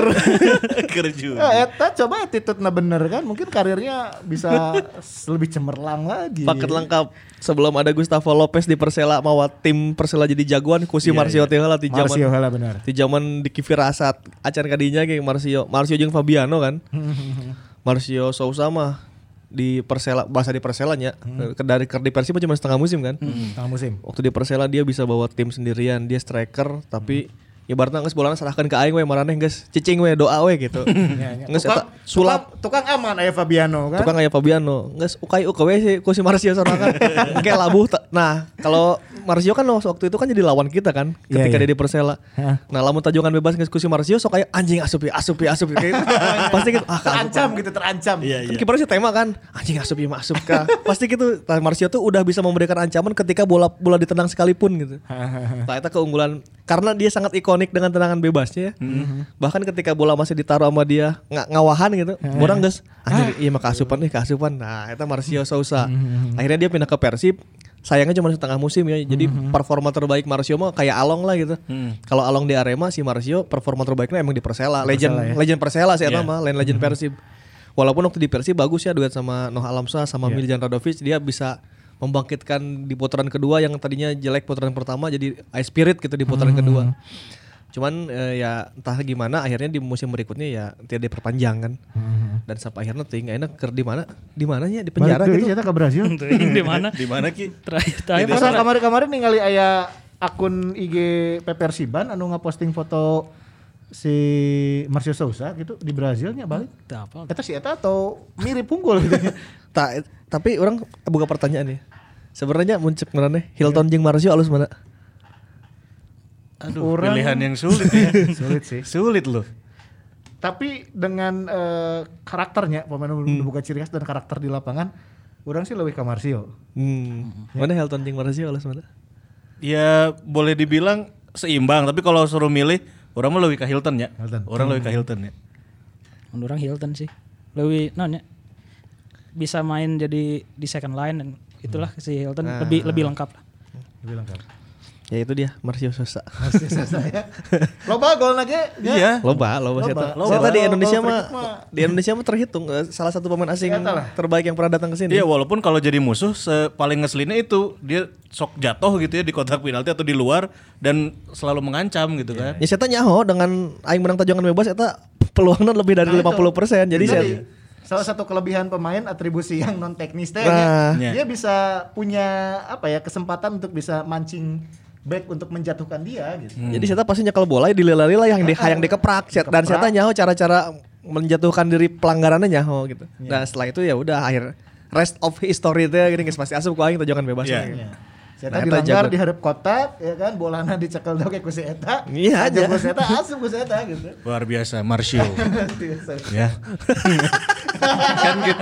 Kerju.
Ya, eta coba attitude na bener kan mungkin karirnya bisa s- lebih cemerlang lagi.
Paket lengkap. Sebelum ada Gustavo Lopez di Persela mawa tim Persela jadi jagoan kusi Iya, Marcio teh heula di
Marcio
zaman
lah benar.
di zaman Diki Firasat acan kadinya kayak Marcio Marcio jeung Fabiano kan Marcio Sousa mah di Persela bahasa di Perselanya dari ker- di Persib cuma setengah musim kan
Tengah musim.
waktu di Persela dia bisa bawa tim sendirian dia striker tapi ibaratnya geus bolana serahkan ke aing we maraneh geus cicing we doa we gitu geus
Tukang-
eta sulap
tukang, tukang aman aya Fabiano kan.
tukang kayak Fabiano geus ukai ukewe sih ku si Marcio sorangan kayak labuh ta- nah kalau Marcio kan waktu itu kan jadi lawan kita kan
Iya, iya.
ketika dia di Persela
Hah.
nah lamun tajongan bebas geus ku si Marcio sok kayak anjing asup ya asup ya asup ya. Kayak pasti gitu ah keasupan.
terancam gitu terancam.
Kan kiper sih tema kan anjing asup ya asup kah pasti gitu Nah, Marcio tuh udah bisa memberikan ancaman ketika bola bola ditendang sekalipun gitu nah itu keunggulan karena dia sangat ikonik dengan tendangan bebasnya ya. bahkan ketika bola masih ditaruh sama dia nggak ngawahan gitu orang guys anjing iya mah keasupan nih keasupan nah itu Marcio Sousa akhirnya dia pindah ke Persib sayangnya cuma setengah musim ya jadi performa terbaik Marcio mah kayak Along lah gitu kalau Along di Arema si Marcio performa terbaiknya emang di Persela legend
Persela ya.
legend Persela sih yeah.
Iya.
mah lain legend Persib. Walaupun waktu di Persib bagus ya duet sama Noh Alamsa sama Miljan Radovic dia bisa membangkitkan di putaran kedua yang tadinya jelek putaran pertama jadi Ice Spirit gitu di putaran kedua. Cuman eh, ya entah gimana akhirnya di musim berikutnya ya tidak diperpanjang kan. Dan sampai akhirnya ting enak ker di mana? Di mananya di penjara
Balik deui
gitu. ya,
cenah ke Brazil.
di mana?
Di mana ki?
Terakhir terakhir
Masa kemarin-kemarin ningali aya akun IG PP Persiban anu ngaposting foto si Marcio Sousa gitu di Brazilnya balik.
Tah, apa?
Eta si eta atau mirip punggul gitu.
Ta- tapi orang buka pertanyaan ya. Sebenarnya muncul ngeraneh Hilton jeung Marcio alus mana?
Aduh,
Orang-
pilihan yang sulit ya.
Sulit sih.
sulit loh.
Tapi dengan eh, karakternya pemain hmm. bukan ciri khas dan karakter di lapangan, orang sih lebih ke Marcio.
Hmm. Mana Hilton jeung Marcio alus mana?
Ya boleh dibilang seimbang, tapi kalau suruh milih orang mah lebih ke Hilton ya.
Hilton. Hmm.
Orang lebih ke Hilton ya.
Mun Orang Hilton sih. Lebih non ya. Bisa main
Ah.
jadi di second line dan itulah si Hilton lebih lebih lengkap lah.
Lebih lengkap.
Ya itu dia Marcio Sosa.
saya. Loba gol nage.
Iya.
Loba, loba,
Loba.
saya
Loba.
Saya di
Loba.
Indonesia
Loba
mah
free kick mah.
di Indonesia mah terhitung eh, salah satu pemain asing
Ternyata lah.
terbaik yang pernah datang ke sini.
Iya walaupun kalau jadi musuh se- paling ngeselinnya itu dia sok jatuh gitu ya di kotak penalti atau di luar dan selalu mengancam gitu kan.
Ya saya nyaho dengan aing menang tajongan bebas eta peluangnya lebih dari 50%. Jadi saya
salah satu kelebihan pemain atribusi yang non teknis teh
Nah.
ya. dia bisa punya apa ya kesempatan untuk bisa mancing back untuk menjatuhkan dia gitu.
Jadi saya pasti nyekel bola dilila-lila yang di yang dikeprak Syeta- dan saya nyaho cara-cara menjatuhkan diri pelanggarannya nyaho gitu. Nah, setelah itu ya udah akhir rest of history teh gini geus pasti asup ku aing tajongan bebas.
Iya.
we.
Ya.
Nah,
Seta
eta
dilanggar
jago.
diharap kotak ya kan bolana dicekel doge ku si eta.
Iya aja.
Ku si eta asup ku si eta gitu.
Luar biasa Marsio. ya. kan gitu.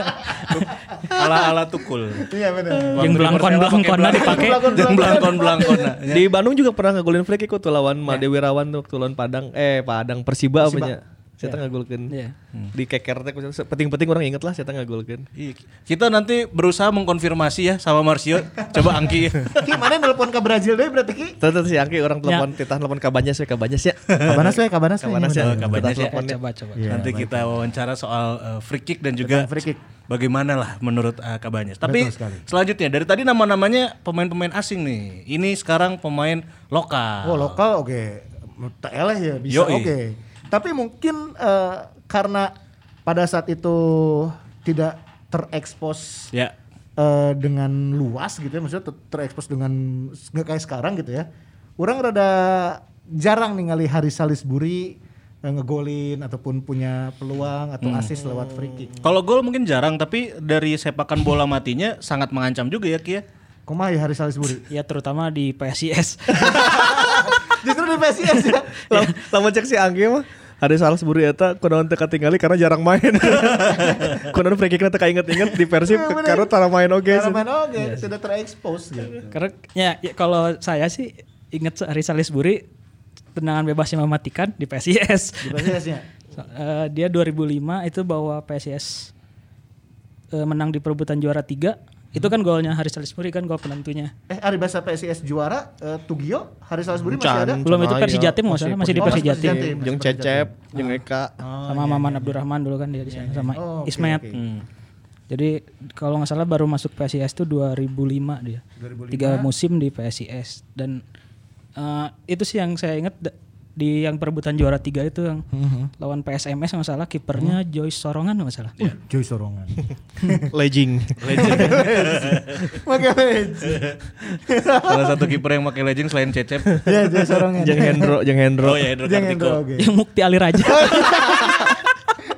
Ala-ala tukul.
Iya benar.
Yang belangkon-belangkona dipakai.
Yang belangkon-belangkona.
Di Bandung juga pernah ngegolin free kick tuh lawan Made Wirawan tuh waktu lawan Padang eh Padang Persiba apanya. Saya ngegolkeun. Hmm.
Iya.
Di keker teh penting-penting orang inget lah saya ngegolkeun.
Iya, Kita nanti berusaha mengkonfirmasi ya sama Marsio. Coba Angki.
Ki mana nelpon ke Brazil deh berarti Ki?
Tuh tuh si Angki orang telepon titah telepon kabanya sih kabanya sih.
Kabanas we, kabanas we.
Kabanya sih.
Oh, kabarnya sih.
Coba coba.
Nanti kita wawancara soal uh, free kick dan juga
Tentang free kick.
bagaimana lah menurut uh, kabarnya. Tapi selanjutnya dari tadi nama-namanya pemain-pemain asing nih. Ini sekarang pemain lokal.
Oh lokal oke. Tak eleh ya bisa
Yoi.
oke. Tapi mungkin eh, karena pada saat itu tidak terekspos
Ya.
eh, dengan luas gitu ya maksudnya ter- terekspos dengan nggak kayak sekarang gitu ya. Orang rada jarang nih ngali Haris Salisbury eh, ngegolin ataupun punya peluang atau assist lewat free kick.
Kalau gol mungkin jarang tapi dari sepakan bola matinya sangat mengancam juga ya Kia.
Kumaha ya Haris Salisbury?
Ya terutama di PSIS.
Justru di PSIS ya.
Lam- Lamun cek si Anggi mah ada salah seburu eta kunaon teu katingali karena jarang main. kunaon free kickna teu kainget-inget di Persib
Iya, bener.
karena tara main oge.
Karena main oke,
Iya
tidak terekspos gitu.
Karena ya, ya kalau saya sih inget Haris Salisbury tendangan bebas yang mematikan di PSIS.
Di PSIS-nya.
So, eh, dia 2005 itu bawa PSIS eh, menang di perebutan juara 3. Itu kan golnya Haris Salisbury kan gol penentunya.
Eh, hari bahasa PSIS juara, eh, Tugio, Haris Salisbury masih
Can.
ada.
Belum itu
Cahaya,
Persija Jatim nggak salah, masih di
Oh,
Persija
masih Persija
Jatim.
Jatim. iya,
Jeung Cecep, jeung Eka.
sama Maman Abdurrahman dulu kan dia di sana sama
Oh, oke,
Ismet.
oke.
Jadi kalau nggak salah baru masuk PSIS tuh 2005 dia. Tiga musim di PSIS dan eh, itu sih yang saya ingat da- di yang perebutan juara tiga itu yang
Mm-hmm.
lawan PSMS nggak salah kipernya Joyce Sorongan nggak salah.
Joy Sorongan.
Leging.
Oke, Fitz.
Salah satu kiper yang pakai legend selain Cecep.
Ya, Joy Sorongan.
jeung Hendro, jeung Hendro.
Oh ya Hendro
Jangan
Kartiko.
bro, oke.
Yang Mukti Ali Raja.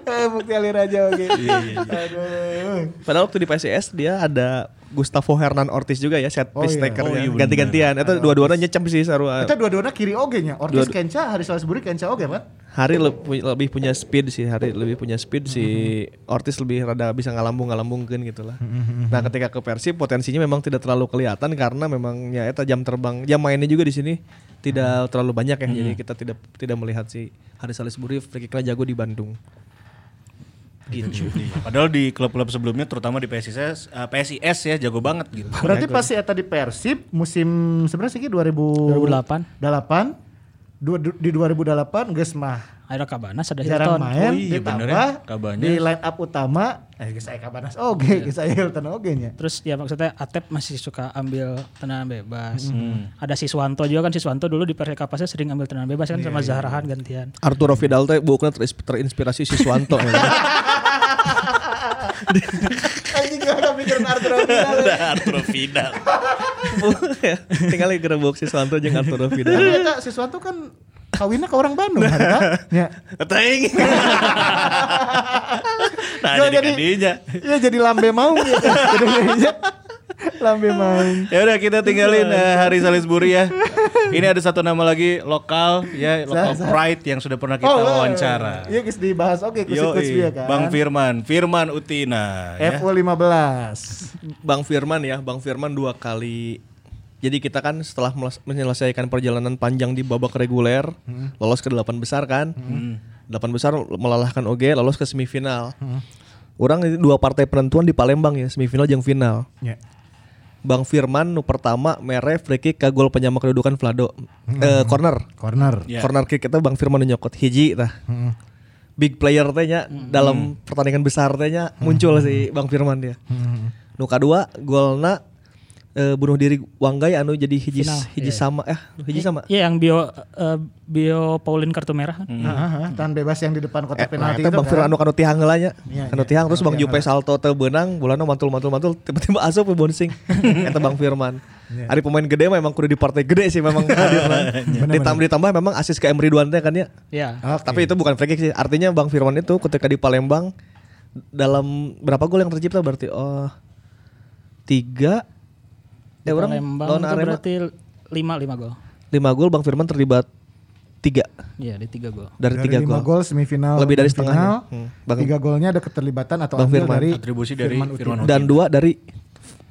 Eh, Bukti Alir aja, oke.
Iya,
Aduh.
Padahal waktu di PSIS dia ada Gustavo Hernan Ortiz juga ya set
Oh
piece
iya.
taker
Oh iya, bener.
ganti-gantian. Itu dua-duanya nyecem sih sarua.
Kita dua-duanya kiri oge-nya. Ortiz Kenca, Haris Salisbury Kenca oge, kan?
Hari le- pu- lebih punya speed sih, Hari lebih punya speed si Ortiz lebih rada bisa ngalambung ngalambungkeun gitu lah. Nah, ketika ke Persib potensinya memang tidak terlalu kelihatan karena memang ya eta jam terbang, jam mainnya juga di sini tidak terlalu banyak ya. Jadi kita tidak tidak melihat si Haris Salisbury free kicknya jago di Bandung.
Gitu. Padahal di klub-klub sebelumnya terutama di PSIS eh, PSIS ya jago banget gitu.
Berarti pas si Eta di Persib musim sebenarnya sih
2008.
2008. 2008. Dua, du- di 2008 geus mah
Ada Kabanas ada
jarang
Hilton.
Oh
main
iya,
ditambah
bener ya, Kabanas.
di line up utama eh geus aya Kabanas
Iya.
oge, geus aya Hilton oge nya.
Terus ya maksudnya Atep masih suka ambil tendangan bebas. Ada Siswanto juga kan Siswanto dulu di Persikapasnya sering ambil tendangan bebas kan sama Zahrahan gantian.
Arturo Vidal teh bukannya teris- terinspirasi Siswanto. ya.
Anjing gak kepikiran Arturo Vidal.
Ada Arturo Vidal.
Tinggal gerebok Siswanto jeung Arturo
Tapi
Vidal.
Eta sesuatu kan kawinnya ke orang Bandung kan? Eta? Ya.
Teng. nah,
Gua
jadi
jadi-
kadinya.
Ya jadi lambe mau ya. Jadi kayaknya lambe mau.
Ya udah kita tinggalin eh, Hari Salisbury ya. Ini ada satu nama lagi lokal ya, lokal
Sa- sa-
pride yang sudah pernah kita
eh,
wawancara.
Iya guys dibahas oke okay,
Yoi,
kusik kan.
Bang Firman, Firman Utina ya.
FU 15.
Bang Firman ya, Bang Firman dua kali. Jadi kita kan setelah meles- menyelesaikan perjalanan panjang di babak reguler, lolos ke delapan besar kan. Delapan besar melalahkan OG, lolos ke semifinal. Orang ini dua partai penentuan di Palembang ya, semifinal yang final.
Ya.
Bang Firman nu pertama mere free kick ke gol penyama kedudukan Vlado. Eh, corner.
Corner.
Ya.
Corner kick itu Bang Firman nu nyokot hiji tah.
Heeh.
Big player teh nya dalam pertandingan besar teh nya muncul si Bang Firman dia.
Heeh.
Nu kedua golna eh, bunuh diri Wanggai anu jadi hiji
Final.
hiji sama eh hiji sama.
Iya yang bio eh, bio Paulin kartu merah kan.
Nah, ah, ah, tahan bebas yang di depan kotak
Eh, nah,
penalti kan?
itu Bang Firman anu anu tihang heula nya.
Iya,
Anu
iya.
tihang terus
Anu
Bang
tihang
Jupe salto teu beunang, bolana mantul-mantul-mantul tiba-tiba asup ke bouncing. Eta Bang Firman. Ada pemain gede memang kudu di partai gede sih memang hadir lah. ditambah, ditambah memang asis ke Emri Duan teh kan ya.
Iya.
Oke.
Tapi itu bukan free kick sih. Artinya Bang Firman itu ketika di Palembang dalam berapa gol yang tercipta berarti oh tiga
Di
eh orang
Palembang
lawan
itu
Arema
berarti 5 5 gol.
lima gol Bang Firman terlibat tiga
Iya, di 3 gol.
dari, tiga
lima gol
gol.
semifinal
Lebih dari
dan final,
setengahnya. Hmm. Bang-
tiga golnya ada keterlibatan atau
Bang
andil
Firman.
dari
Kontribusi dari
Uti.
Firman Uti.
Dan dua dari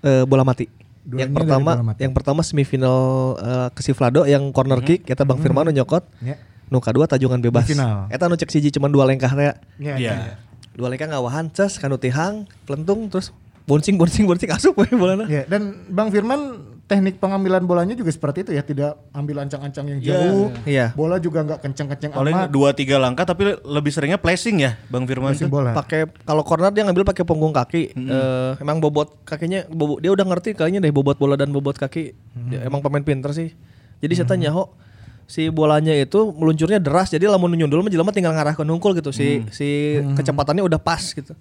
eh, bola mati.
Duanya
yang
dari
pertama
bola mati.
yang pertama semifinal eh, ke si Vlado yang
Mhm.
corner kick kita Bang Firman nu nyokot.
Ya.
Nu kadua tajungan bebas.
Di final.
Eta nu cek siji cuman dua lengkah rea.
Ya,
Iya.
ya,
Dua lengkah ngawahan ces kanu tihang pelentung terus bouncing bouncing bouncing asup we bolana.
ya. dan Bang Firman teknik pengambilan bolanya juga seperti itu ya tidak ambil ancang-ancang yang jauh
Iya.
bola juga nggak kencang-kencang
Paling
amat
dua tiga langkah tapi lebih seringnya placing ya Bang Firman
Passing
tuh.
bola
pakai kalau corner dia ngambil pakai punggung kaki Eh, emang bobot kakinya bobo, dia udah ngerti kayaknya deh bobot bola dan bobot kaki Dia emang pemain pinter sih jadi saya tanya ho si bolanya itu meluncurnya deras jadi lamun nyundul mah jelema tinggal ngarahkan hungkul gitu si si kecepatannya udah pas gitu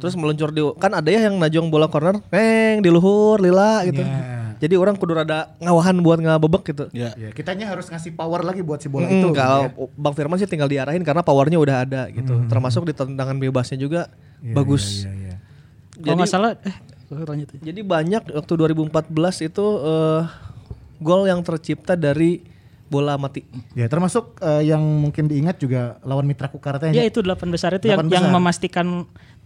terus meluncur di kan ada ya yang najong bola corner neng di luhur lila gitu
Iya.
Ya.
jadi orang kudu rada ngawahan buat ngabebek gitu
Ya.
ya, kitanya harus ngasih power lagi buat si bola
Mm,
itu
kalau
Iya.
Bang Firman sih tinggal diarahin karena powernya udah ada gitu termasuk di tendangan bebasnya juga
Iya,
Ya,
bagus
ya, ya, ya.
Kalau nggak salah eh lanjut.
Jadi banyak waktu 2014 itu eh, gol yang tercipta dari bola mati.
Ya, termasuk eh, yang mungkin diingat juga lawan Mitra Kukartanya
Ya itu 8 besar itu yang
Delapan
yang
besar.
memastikan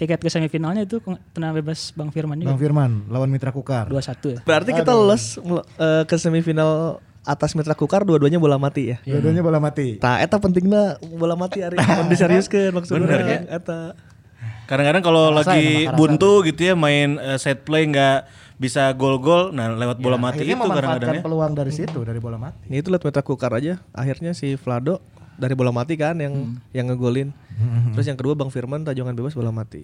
tiket ke semifinalnya itu tenang bebas Bang Firman
Bang
juga.
Firman lawan Mitra Kukar
21 ya.
Berarti kita lolos mel- eh, ke semifinal atas Mitra Kukar dua-duanya bola mati ya.
Iya.
dua-duanya bola mati
Tah eta pentingna bola mati ari mun diseriuskeun maksudnya.
Bener, ya.
Eta.
Kadang-kadang kalau
Karasan,
lagi
emang karasan.
buntu gitu ya main eh, set play nggak bisa gol-gol, nah lewat bola mati
Ya, Akhirnya
itu kadang-kadang
memanfaatkan
ya.
peluang dari situ dari bola mati
Ini itu lihat Mitra Kukar aja. Akhirnya si Vlado dari bola mati kan yang yang ngegolin.
Hmm.
Terus yang kedua Bang Firman tajongan bebas bola mati.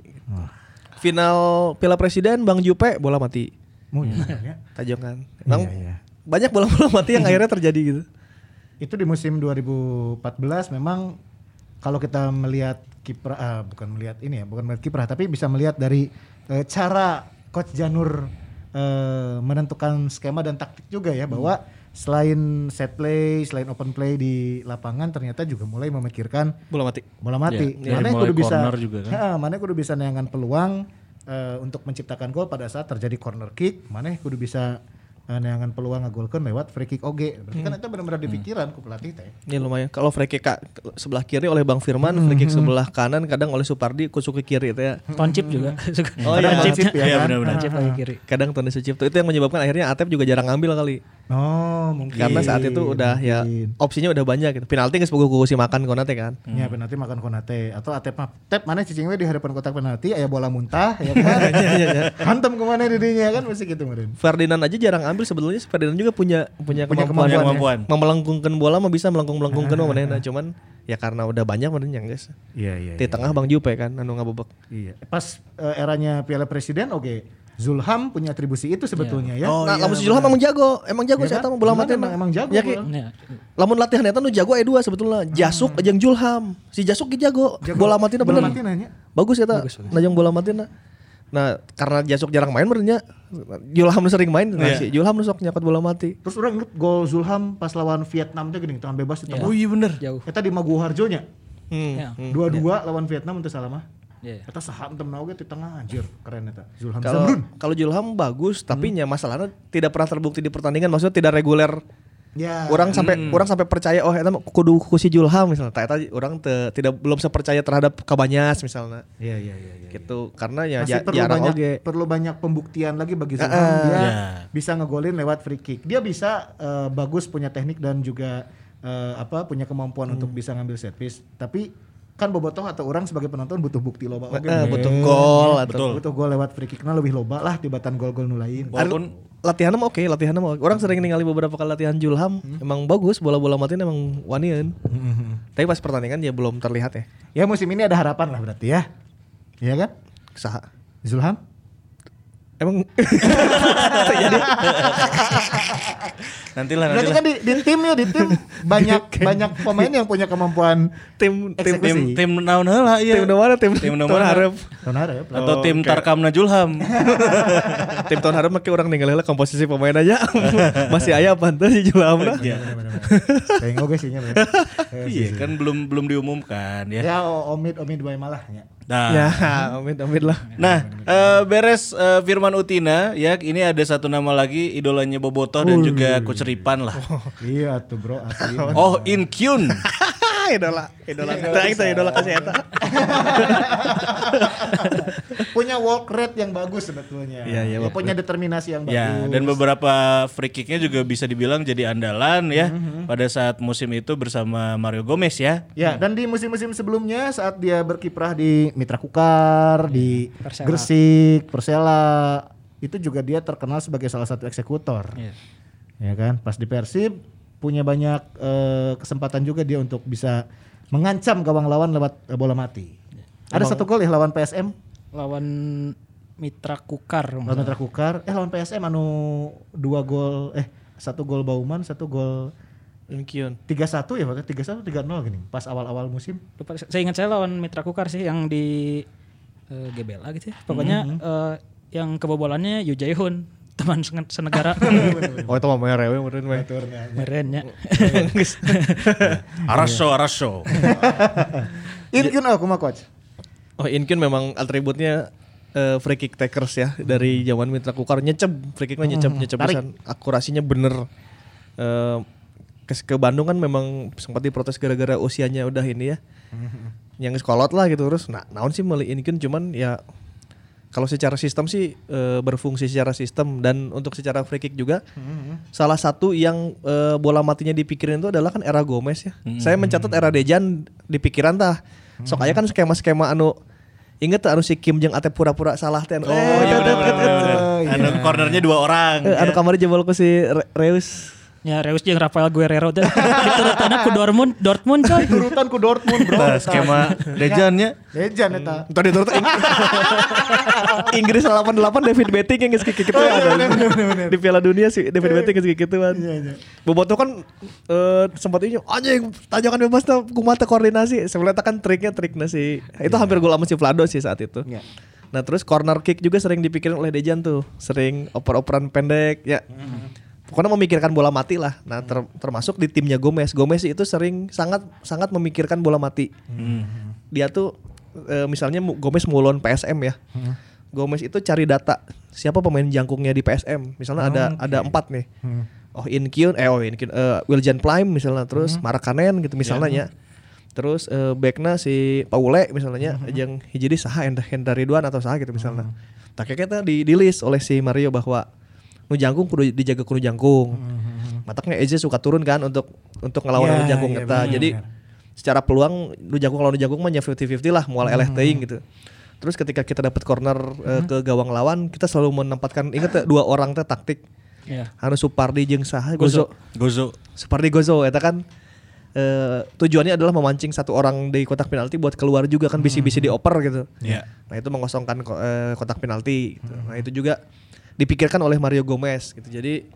Final Piala Presiden Bang Jupe bola mati.
Mau ya.
Tajongan. Emang
Iya, iya.
banyak bola-bola mati yang akhirnya terjadi gitu.
Itu di musim 2014 memang kalau kita melihat kiprah ah, bukan melihat ini ya, bukan melihat kiprah tapi bisa melihat dari eh, cara coach Janur eh, menentukan skema dan taktik juga ya bahwa selain set play, selain open play di lapangan ternyata juga mulai memikirkan
Bola mati.
bola mati.
Iya,
mana
dari
kudu
mulai
bisa,
corner juga kan.
Ha, mana kudu bisa neangan peluang eh, untuk menciptakan gol pada saat terjadi corner kick. Mana kudu bisa eh, neangan peluang ngegolkeun lewat free kick oge. Berarti
Hmm.
kan itu benar-benar di pikiran ku pelatih teh.
Ya lumayan. Kalau free kick ka- sebelah kiri oleh Bang Firman, free kick
Hmm.
sebelah kanan kadang oleh Supardi kusuk ke kiri itu ya.
Toncip juga. Suka.
Oh,
Kadang
iya.
Toncip
ya
Iya,
kan?
benar-benar.
Toncip lagi kiri.
Kadang Tony Sucipto itu yang menyebabkan akhirnya Atep juga jarang ngambil kali.
Oh, mungkin.
Karena saat itu udah ya
mungkin.
opsinya udah banyak gitu. Penalti geus pugu kuku si makan konate kan.
Hmm.
Ya penalti makan konate atau atep mah tep mana cicing we di hadapan kotak penalti aya bola muntah ya kan.
Iya,
Hantem kemana didinya kan mesti gitu meureun.
Ferdinand aja jarang ambil sebetulnya si Ferdinand juga punya punya,
Punya
kemampuan,
kemampuan, kemampuan.
ya. Memelengkungkan bola mah bisa melengkung-melengkungkan mah manehna. cuman ya karena udah banyak manehna guys.
Iya iya.
Di tengah Bang Jupe kan anu ngabebek.
Iya. Pas eh, eranya Piala Presiden oke Zulham punya atribusi itu sebetulnya ya.
nah, lamun si Julham emang jago, emang jago saya tahu
Zulham
bola mati
emang-
mah.
emang jago
Ya, Ki.
bola.
Iya.
Lamun latihan eta nu jago E2 sebetulnya. Jasuk jeung Julham. Si Jasuk ge jago. Bola matina
Bola
bener.
mati nanya.
Bagus eta. Najong bola matina. Nah, karena Jasuk jarang main benernya. Julham nu sering main. Nah, si Julham nu sok nyakot bola mati.
Terus orang inget gol Zulham pas lawan Vietnam tuh ya. gini, tangan bebas itu.
Oh iya bener.
Jauh.
Eta di Magu Harjonya.
Hmm.
Iya.
Dua-dua lawan Vietnam untuk salah mah.
Iya.
Eta saham temna oge di tengah anjir, keren eta. Zulham
Kalau
Zamrun.
kalau Julham bagus, tapi
Hmm.
nya masalahnya tidak pernah terbukti di pertandingan, maksudnya tidak reguler.
Ya.
Orang sampai orang sampai percaya oh eta mah kudu ku si Julham misalnya. Eta orang te- tidak belum sepercaya terhadap Kabanyas misalnya.
Iya iya iya iya.
Gitu. Karena ya
Masih
ja-
perlu
jarang
banyak
oge.
perlu banyak pembuktian lagi bagi Zulham dia
Ya.
bisa ngegolin lewat free kick. Dia bisa eh, bagus punya teknik dan juga eh, apa punya kemampuan untuk bisa ngambil set piece, tapi kan bobotoh atau orang sebagai penonton butuh bukti loba oge.
Eh, butuh gol atau
Betul.
Betul. gol lewat free kick nah lebih loba lah tibatan gol-gol nulain.
Walaupun
latihan mah oke, latihan mah oke. Orang sering ningali beberapa kali latihan Julham,
Hmm.
emang bagus bola-bola matiin emang wanian. Tapi pas pertandingan ya belum terlihat ya.
Ya musim ini ada harapan lah berarti ya. Iya kan?
Saha.
Zulham?
Emang
Nantilah
Berarti
nantilah.
kan di, di tim ya di tim banyak banyak pemain yang punya kemampuan
tim tim
tim
eksekusi.
tim naon heula iya.
tim nomor tim
Tim
tahun
nomor
harap
Tahun harap lah.
atau tim Tarkamna Julham.
tim tahun harap make orang ningali heula komposisi pemain aja masih aya pantas si Julham lah.
Iya.
Tengok guys ini.
Iya kan belum belum diumumkan ya.
Ya o- omid omid bae malah ya.
Nah,
Ya, amin amin lah.
Nah, eh, beres eh, Firman Utina ya ini ada satu nama lagi idolanya Bobotoh dan juga Coach Ripan lah.
Iya tuh bro asli.
Oh, Inkyun.
Ah, idola, idola. Tah itu ya, idola kasih eta.
punya walk rate yang bagus sebetulnya.
Iya, iya,
Ya,
walk
punya determinasi yang bagus.
Ya, dan beberapa free kicknya juga bisa dibilang jadi andalan ya pada saat musim itu bersama Mario Gomez ya.
Ya, dan di musim-musim sebelumnya saat dia berkiprah di Mitra Kukar, di
Persela.
Gresik, Persela, itu juga dia terkenal sebagai salah satu eksekutor.
Iya.
Ya kan? Pas di Persib punya banyak eh, kesempatan juga dia untuk bisa mengancam gawang lawan lewat eh, bola mati. Ada satu gol ya lawan PSM,
lawan Mitra Kukar.
lawan Mitra Kukar, eh lawan PSM anu dua gol eh satu gol Bauman, satu gol
Inkyun.
3-1 ya, waktu 3-1 3-0 gini pas awal-awal musim.
Lupa, saya ingat saya lawan Mitra Kukar sih yang di eh, GBLA gitu ya. Pokoknya eh, yang kebobolannya Yu Jae-hoon, teman se- senegara ya.
Oh itu mah main rewe meureun mah.
merennya.
Iya. Araso, Araso.
Inkyun aku mah coach.
Oh Inkyun memang atributnya eh, free kick takers ya dari zaman Mitra Kukar nyecep free kicknya nyecep nyecep
tarik.
pisan. akurasinya bener Eh, ke, ke Bandung kan memang sempat diprotes gara-gara usianya udah ini ya yang sekolot lah gitu terus nah naon sih meli Inkyun cuman ya kalau secara sistem sih eh, berfungsi secara sistem dan untuk secara free kick juga salah satu yang eh, bola matinya dipikirin itu adalah kan era Gomez ya.
Hmm.
Saya mencatat era Dejan di pikiran tah. Sok aya kan
Hmm.
skema-skema anu Ingat tak anu si Kim jeung Ate pura-pura salah teh. anu,
Oh,
eh,
iya
tet,
benar, benar,
tet, tet, tet.
benar. Anu cornernya dua orang.
Eh, anu
ya.
kamari jebol ku si Re- Reus.
ya Reus jeung Rafael Guerrero teh diturutana ku Dortmund, Dortmund coy.
Turutan ku Dortmund bro.
Nah, skema Dejannya
Legend eta.
Entar diturut Inggris 88 David Betting yang geus kieu kitu ada. Di Piala Dunia si David Betting geus kieu kituan. Boboto kan eh, sempat ini anjing tanjakan bebas tuh kumata koordinasi. Sebenarnya kan triknya triknya si itu hampir gol sama si Vlado sih saat itu.
Iya.
Nah, terus corner kick juga sering dipikirin oleh Dejan tuh. Sering oper-operan pendek ya. Pokoknya memikirkan bola mati lah. Nah, ter- termasuk di timnya Gomez. Gomez itu sering sangat sangat memikirkan bola mati
Hmm.
dia tuh eh, misalnya Mu- Gomez mulon PSM ya. Gomez itu cari data siapa pemain jangkungnya di PSM. Misalnya ada ada empat nih. Oh Inkyun, eh oh Inkyun, eh, Wiljan Plime misalnya, terus Marakanen gitu misalnya ya. Terus eh, backnya si Paule misalnya, yang jadi saha Hend- Hendra Ridwan atau saha gitu misalnya. Tak kayaknya di, di list oleh si Mario bahwa nu jangkung kudu dijaga kudu jangkung. Mataknya Eze suka turun kan untuk untuk ngelawan
Ya,
nu jangkung gitu.
ya,
eta.
benar,
Jadi
benar.
secara peluang lu jagung kalau lu jagung mah ya 50-50 lah mual eleh teing gitu. Terus ketika kita dapat corner eh, ke gawang lawan, kita selalu menempatkan ingat teh, dua orang teh taktik.
Ya.
Harus Supardi jeung saha Gozo.
Gozo.
Supardi Gozo eta kan eh, tujuannya adalah memancing satu orang dari kotak penalti buat keluar juga kan bisi-bisi dioper gitu.
Iya.
Nah, itu mengosongkan ko- eh, kotak penalti. gitu. Nah, itu juga dipikirkan oleh Mario Gomez gitu. Jadi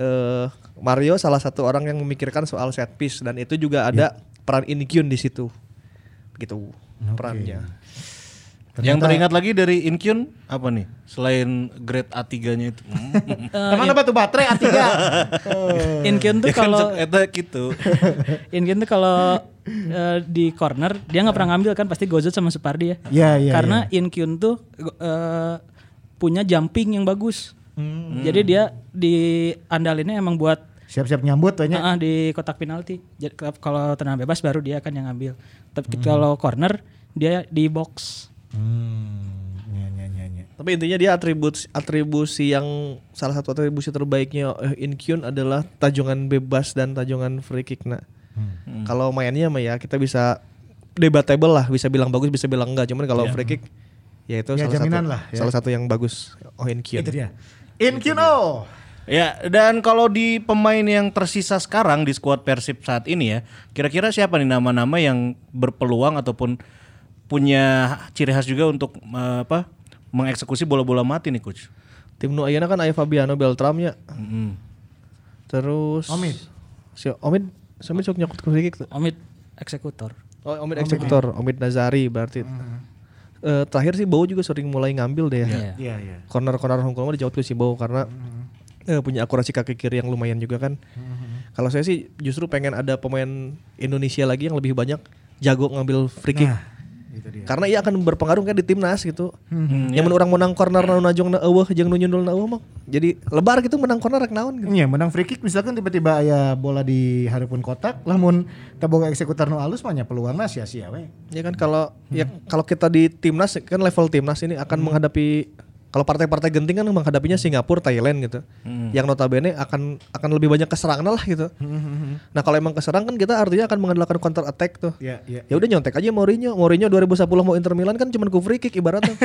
eh, Mario salah satu orang yang memikirkan soal set piece dan itu juga ada peran Inkyun di situ. Gitu perannya.
Yang teringat lagi dari Inkyun apa nih? Selain grade A3-nya itu. Hmm.
Emang apa tuh baterai A3?
Inkyun tuh
ya kan
kalau
cek eta gitu.
Inkin tuh kalau eh, di corner dia nggak pernah ngambil kan pasti Gozet sama Supardi ya.
Iya, iya,
Karena Inkyun tuh eh, punya jumping yang bagus. Jadi dia diandalinnya emang buat
Siap-siap nyambut tanya.
ah, di kotak penalti. Jadi ke- kalau tenang bebas baru dia akan yang ngambil. Tapi kalau corner dia di box.
Hmm. Ya, ya, ya, ya.
Tapi intinya dia atribut atribusi yang salah satu atribusi terbaiknya eh, Inkyun adalah tajungan bebas dan tajungan free kick nah. Kalau mainnya mah ya kita bisa debatable lah, bisa bilang bagus, bisa bilang enggak. Cuman kalau free kick ya itu
Ya,
salah satu
jaminan lah, ya. Iya,
salah satu yang bagus oh Inkyun.
Itu dia. Inkyun O.
Ya, dan kalau di pemain yang tersisa sekarang di skuad Persib saat ini ya, kira-kira siapa nih nama-nama yang berpeluang ataupun punya ciri khas juga untuk eh, apa? mengeksekusi bola-bola mati nih coach.
Tim nu ayeuna kan aya Fabiano Beltram ya. Terus
Omid.
Si Omid, si Omid sok nyokot ke free kick tuh.
Omid eksekutor.
Oh, Omid eksekutor, Omid Nazari berarti.
Hmm.
Eh, terakhir sih Bowo juga sering mulai ngambil deh ya.
Iya.
Iya, iya.
Corner-corner Hongkong mah dijawab tuh si Bowo karena eh, punya akurasi kaki kiri yang lumayan juga kan. Kalau saya sih justru pengen ada pemain Indonesia lagi yang lebih banyak jago ngambil free kick.
Gitu dia.
Karena ia akan berpengaruh kan di timnas gitu. yang mun orang menang corner naon najong na eueuh jeung nu nyundul na eueuh mah. Jadi lebar gitu menang corner rek naon gitu.
Iya, menang free kick misalkan tiba-tiba aya bola di hareupeun kotak, lamun taboga eksekutor nu alus mah nya peluangna sia-sia we.
Ya kan kalau ya kalau kita di timnas kan level timnas ini
Hmm.
akan menghadapi kalau partai-partai genting kan menghadapinya Singapura, Thailand gitu.
Hmm.
Yang notabene akan akan lebih banyak keserangan lah gitu.
hmm,
Nah, kalau emang keserang kan kita artinya akan mengandalkan counter attack tuh.
Iya, iya.
Ya udah nyontek aja Mourinho. Mourinho 2010 mau Inter Milan kan cuman ku free kick ibaratnya.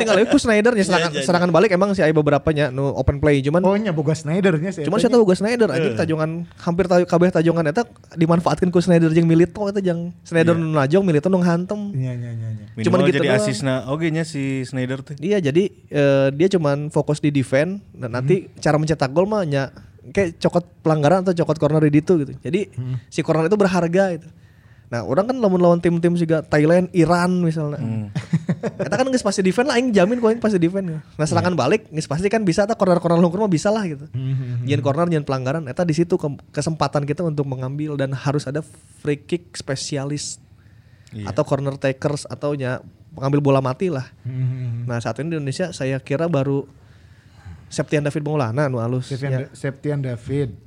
Tinggal lagi ku Snyder ya serangan, serangan balik emang sih ada beberapa nya nu open play cuman
Iya, Oh nya boga Snyder nya
Cuman saya tahu gue Snyder anjing tajongan hampir tahu kabeh tajongan eta dimanfaatkan ku Snyder jeung Milito eta jeung Snyder nu najong Milito nu hantem.
Iya, iya, iya, iya.
Minimal
Cuman gitu
jadi
doang.
asisna oge nya si Snyder tuh.
Iya jadi eh, dia cuman fokus di defense dan nanti cara mencetak gol mah nya kayak cokot pelanggaran atau cokot corner di ditu gitu. Jadi si corner itu berharga gitu. Nah, orang kan lamun lawan tim-tim juga Thailand, Iran misalnya. Eta kan geus pasti defense lah aing jamin ku aing pasti defense. Nah, serangan balik geus pasti kan bisa ta corner-corner lungkur mah bisa lah gitu.
Hmm.
Nyen corner nyen pelanggaran eta di situ ke- kesempatan kita untuk mengambil dan harus ada free kick spesialis atau corner takers atau nya pengambil bola mati lah. Nah, saat ini di Indonesia saya kira baru Septian David Maulana nu alus.
Septian,
Ya.
Septian David.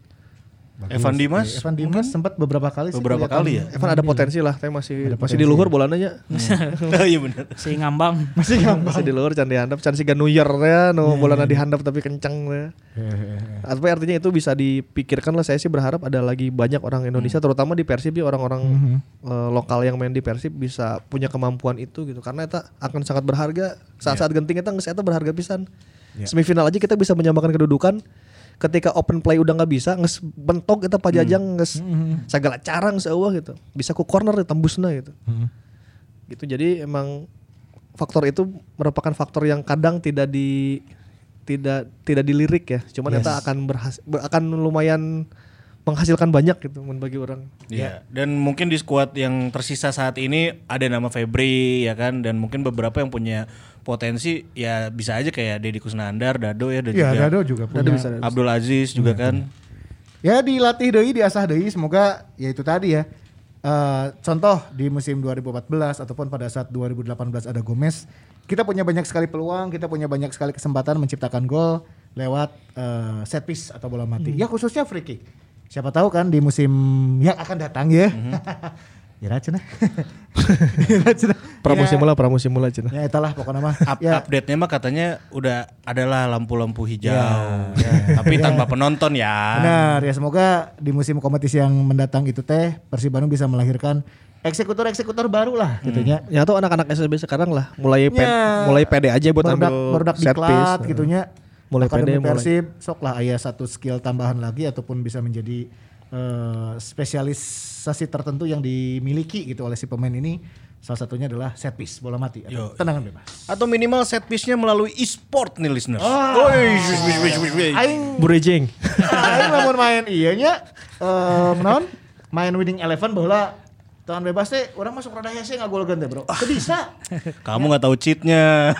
Evan Dimas?
Evan Dimas sempat beberapa
Iya
kali sih kan.
Beberapa
kelihatan.
kali ya?
Evan ada potensi lah, tapi masih masih di luhur bolanya nya.
Oh iya benar.
Si ngambang.
Masih gampang.
masih di luhur can dihandap, can siga New Year ya, nu bolana dihandap tapi kencang ya.
Iya,
Tapi ya, artinya itu bisa dipikirkan lah. Saya sih berharap ada lagi banyak orang Indonesia, terutama di Persib ya orang-orang eh, lokal yang main di Persib bisa punya kemampuan itu gitu. Karena itu akan sangat berharga saat-saat genting itu nggak eta berharga pisan. Semifinal aja kita bisa menyamakan kedudukan. Ketika open play udah nggak bisa, nges bentok kita pajajang nges segala cara nges eueuh gitu. Bisa ku corner tembusna gitu. Gitu jadi emang faktor itu merupakan faktor yang kadang tidak di tidak tidak dilirik ya. Cuman eta akan berhas- ber- akan lumayan menghasilkan banyak gitu mun bagi orang.
Iya. Dan mungkin di skuad yang tersisa saat ini ada nama Febri ya kan dan mungkin beberapa yang punya potensi ya bisa aja kayak Deddy Kusnandar, Dado ya dan
Iya,
juga
Dado Iya, juga punya.
Abdul Aziz juga kan.
Ya dilatih deui, diasah deui, semoga ya itu tadi ya. Eh, contoh di musim 2014 ataupun pada saat 2018 ada Gomez, kita punya banyak sekali peluang, kita punya banyak sekali kesempatan menciptakan gol lewat eh, set piece atau bola mati.
Hmm.
Ya khususnya free kick. Siapa tahu kan di musim yang akan datang ya.
Hmm.
ya racun ah. ya racun ah.
Pramusim
Ya,
lah, pramusim lah cenah.
Ya itulah pokoknya mah.
Up-
Ya,
Update-nya mah katanya udah adalah lampu-lampu hijau ya. tapi tanpa penonton ya.
Ah.
Iya. Benar ya semoga di musim kompetisi yang mendatang itu teh Persib Bandung bisa melahirkan eksekutor-eksekutor baru lah gitu ya.
Ya atau anak-anak SSB sekarang lah mulai pe-
Ya.
mulai pede aja Iya, buat
Produk
ambil
produk
set
diklat
piece. eh.
gitu nya.
Mulai
Akademi
pede, mulai.
Persib sok lah aya satu skill tambahan lagi ataupun bisa menjadi eh, spesialisasi tertentu yang dimiliki gitu oleh si pemain ini. Salah satunya adalah set piece bola mati atau tendangan bebas.
Atau minimal set piece-nya melalui e-sport nih listeners.
Ah.
Woi, wish, wish, wish, wish, wish.
Aing
Bridging.
aing lamun main ieu nya eh naon? Main winning eleven bola tendangan bebas teh orang masuk rada hese ngagolkeun teh, Bro. Teu bisa.
Kamu nggak tahu cheatnya.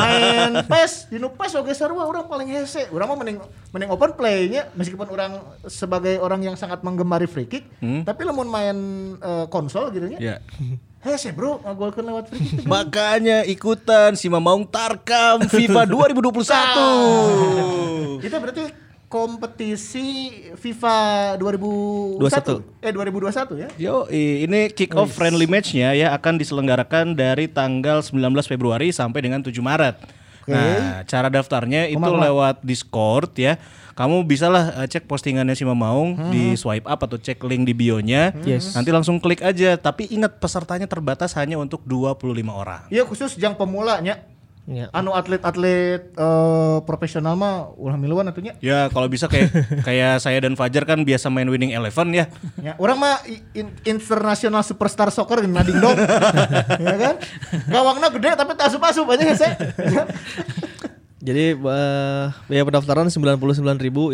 main PES, dino PES oke sarua orang paling hese. Orang mah mending mending open play-nya meskipun orang sebagai orang yang sangat menggemari free kick, tapi lamun main eh, konsol gitu nya.
ya.
Hese, Bro, ngagolkeun lewat free kick.
Makanya ikutan si Mamaung Tarkam FIFA 2021.
Itu berarti kompetisi FIFA
21.
2001 eh 2021 ya.
Yo, ini kick off friendly match-nya ya akan diselenggarakan dari tanggal 19 Februari sampai dengan 7 Maret. Nah, cara daftarnya itu lewat Discord ya. Kamu bisalah eh, cek postingannya si Mamaung di swipe up atau cek link di bio-nya.
Yes.
Nanti langsung klik aja, tapi ingat pesertanya terbatas hanya untuk 25 orang.
Iya khusus yang pemula nya.
Iya.
Anu atlet-atlet eh, profesional mah ulah miluan atunya.
Ya kalau bisa kayak kayak saya dan Fajar kan biasa main winning eleven ya.
Ya, orang mah i- in- international superstar soccer dengan Nading Dong. ya kan? Gawangnya gede tapi tak asup-asup aja ya, saya.
Jadi eh, biaya pendaftaran 99.000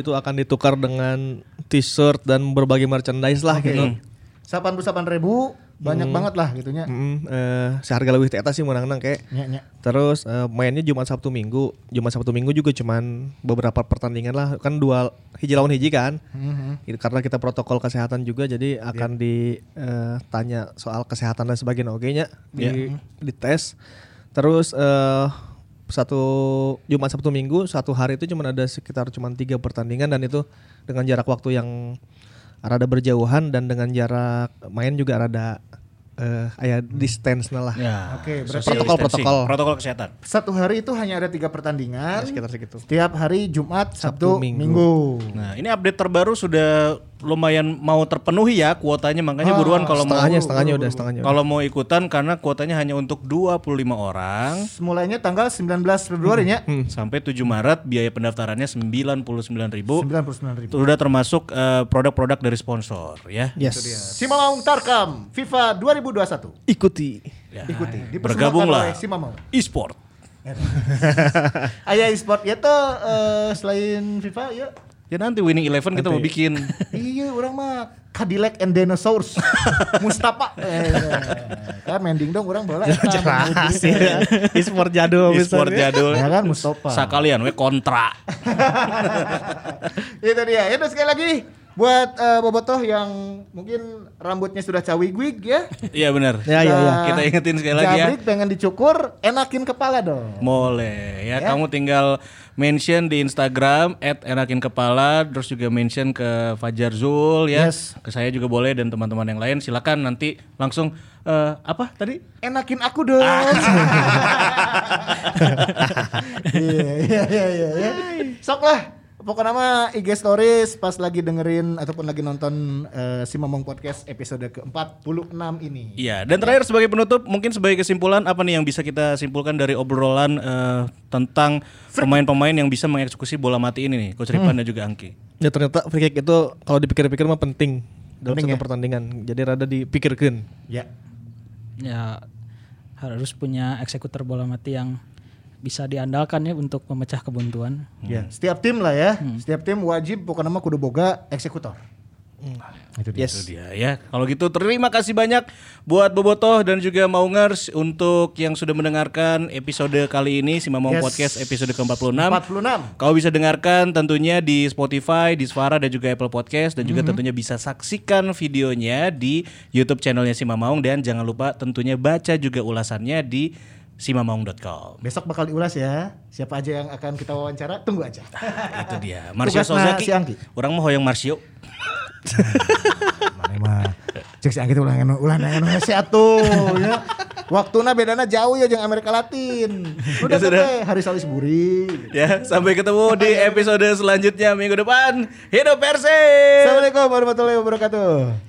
itu akan ditukar dengan t-shirt dan berbagai merchandise lah gitu.
Sapan ribu
Hmm.
banyak banget lah gitunya.
Mm, eh, seharga lebih teta sih menang-menang kayak.
Nya, nya.
Terus eh, mainnya Jumat Sabtu Minggu. Jumat Sabtu Minggu juga cuman beberapa pertandingan lah kan dua hiji lawan hiji kan.
Hmm.
Itu Karena kita protokol kesehatan juga jadi akan ditanya soal kesehatan dan sebagainya oke nya di dites. Terus eh, satu Jumat Sabtu Minggu satu hari itu cuman ada sekitar cuman tiga pertandingan dan itu dengan jarak waktu yang rada berjauhan dan dengan jarak main juga rada eh ayah distance lah.
Ya.
Oke, berarti
Social
Protokol,
distancing,
protokol.
protokol kesehatan.
Satu hari itu hanya ada tiga pertandingan.
Ya, sekitar segitu.
Setiap hari Jumat, Sabtu,
Sabtu, Minggu.
Minggu.
Nah ini update terbaru sudah lumayan mau terpenuhi ya kuotanya makanya
Ah,
buruan kalau mau
setengahnya Ya. setengahnya udah setengahnya.
kalau mau ikutan karena kuotanya hanya untuk 25 orang
Mulainya tanggal 19 Februari nya.
Hmm.
sampai 7 Maret biaya pendaftarannya
Hmm.
99.000
99.000.
sudah termasuk eh, produk-produk dari sponsor ya.
Yes.
Simamaung Tarkam FIFA 2021.
Ikuti.
Ya.
Ikuti.
Bergabunglah.
oleh Simamaung.
E-sport.
Aya e-sport ya tuh eh, selain FIFA ya.
Ya nanti winning eleven kita mau bikin.
iya orang mah Cadillac and Dinosaurs. Mustafa. Eh, kan mending dong orang bola.
Jelas ya. E-sport jadul
E-sport
misalnya.
jadul.
Ya kan Mustafa.
Sekalian we kontra.
itu dia. Itu sekali lagi buat eh, bobotoh yang mungkin rambutnya sudah cawigwig ya.
Iya benar.
Ya ya ya.
Nah,
Kita ingetin sekali lagi ya.
Jabrik pengen dicukur, enakin kepala dong.
Boleh ya,
Ya.
kamu tinggal mention di Instagram @enakinkepala terus juga mention ke Fajar Zul ya.
Yes.
Ke saya juga boleh dan teman-teman yang lain silakan nanti langsung eh, apa tadi?
Enakin aku dong. Iya iya iya iya. iya. Sok lah. Pokoknya mah IG stories pas lagi dengerin ataupun lagi nonton eh, si Mamong Podcast episode ke-46 ini.
Iya, dan terakhir sebagai penutup mungkin sebagai kesimpulan apa nih yang bisa kita simpulkan dari obrolan eh, tentang pemain-pemain yang bisa mengeksekusi bola mati ini nih, Coach Ripan dan juga Angki.
Ya ternyata free kick itu kalau dipikir-pikir mah penting dalam
Penting
satu
ya.
pertandingan. Jadi rada dipikirkan.
Ya.
ya harus punya eksekutor bola mati yang bisa diandalkan ya untuk memecah kebuntuan.
Ya, setiap tim lah ya. Setiap tim wajib pokoknya mah kudu boga eksekutor.
Itu dia ya. Kalau gitu terima kasih banyak buat Bobotoh dan juga Maungers untuk yang sudah mendengarkan episode kali ini si Mamong
Yes.
Podcast episode ke-46.
46.
Kau bisa dengarkan tentunya di Spotify, di Suara dan juga Apple Podcast dan
Mhm.
juga tentunya bisa saksikan videonya di YouTube channelnya Sima Maung dan jangan lupa tentunya baca juga ulasannya di simamaung.com.
Besok bakal diulas ya. Siapa aja yang akan kita wawancara, tunggu aja.
Nah, itu dia. Marsio
Tugasna
Sozaki.
si Angki.
Orang mau hoyong Marsio.
Mana mah cek si Anggit ulang anu- ulang anu hese atuh ya. Waktuna bedana jauh ya jeung Amerika Latin. Udah
sudah.
teh hari Salis Buri.
Ya, sampai ketemu di episode selanjutnya minggu depan. Hidup Persib.
Assalamualaikum warahmatullahi wabarakatuh.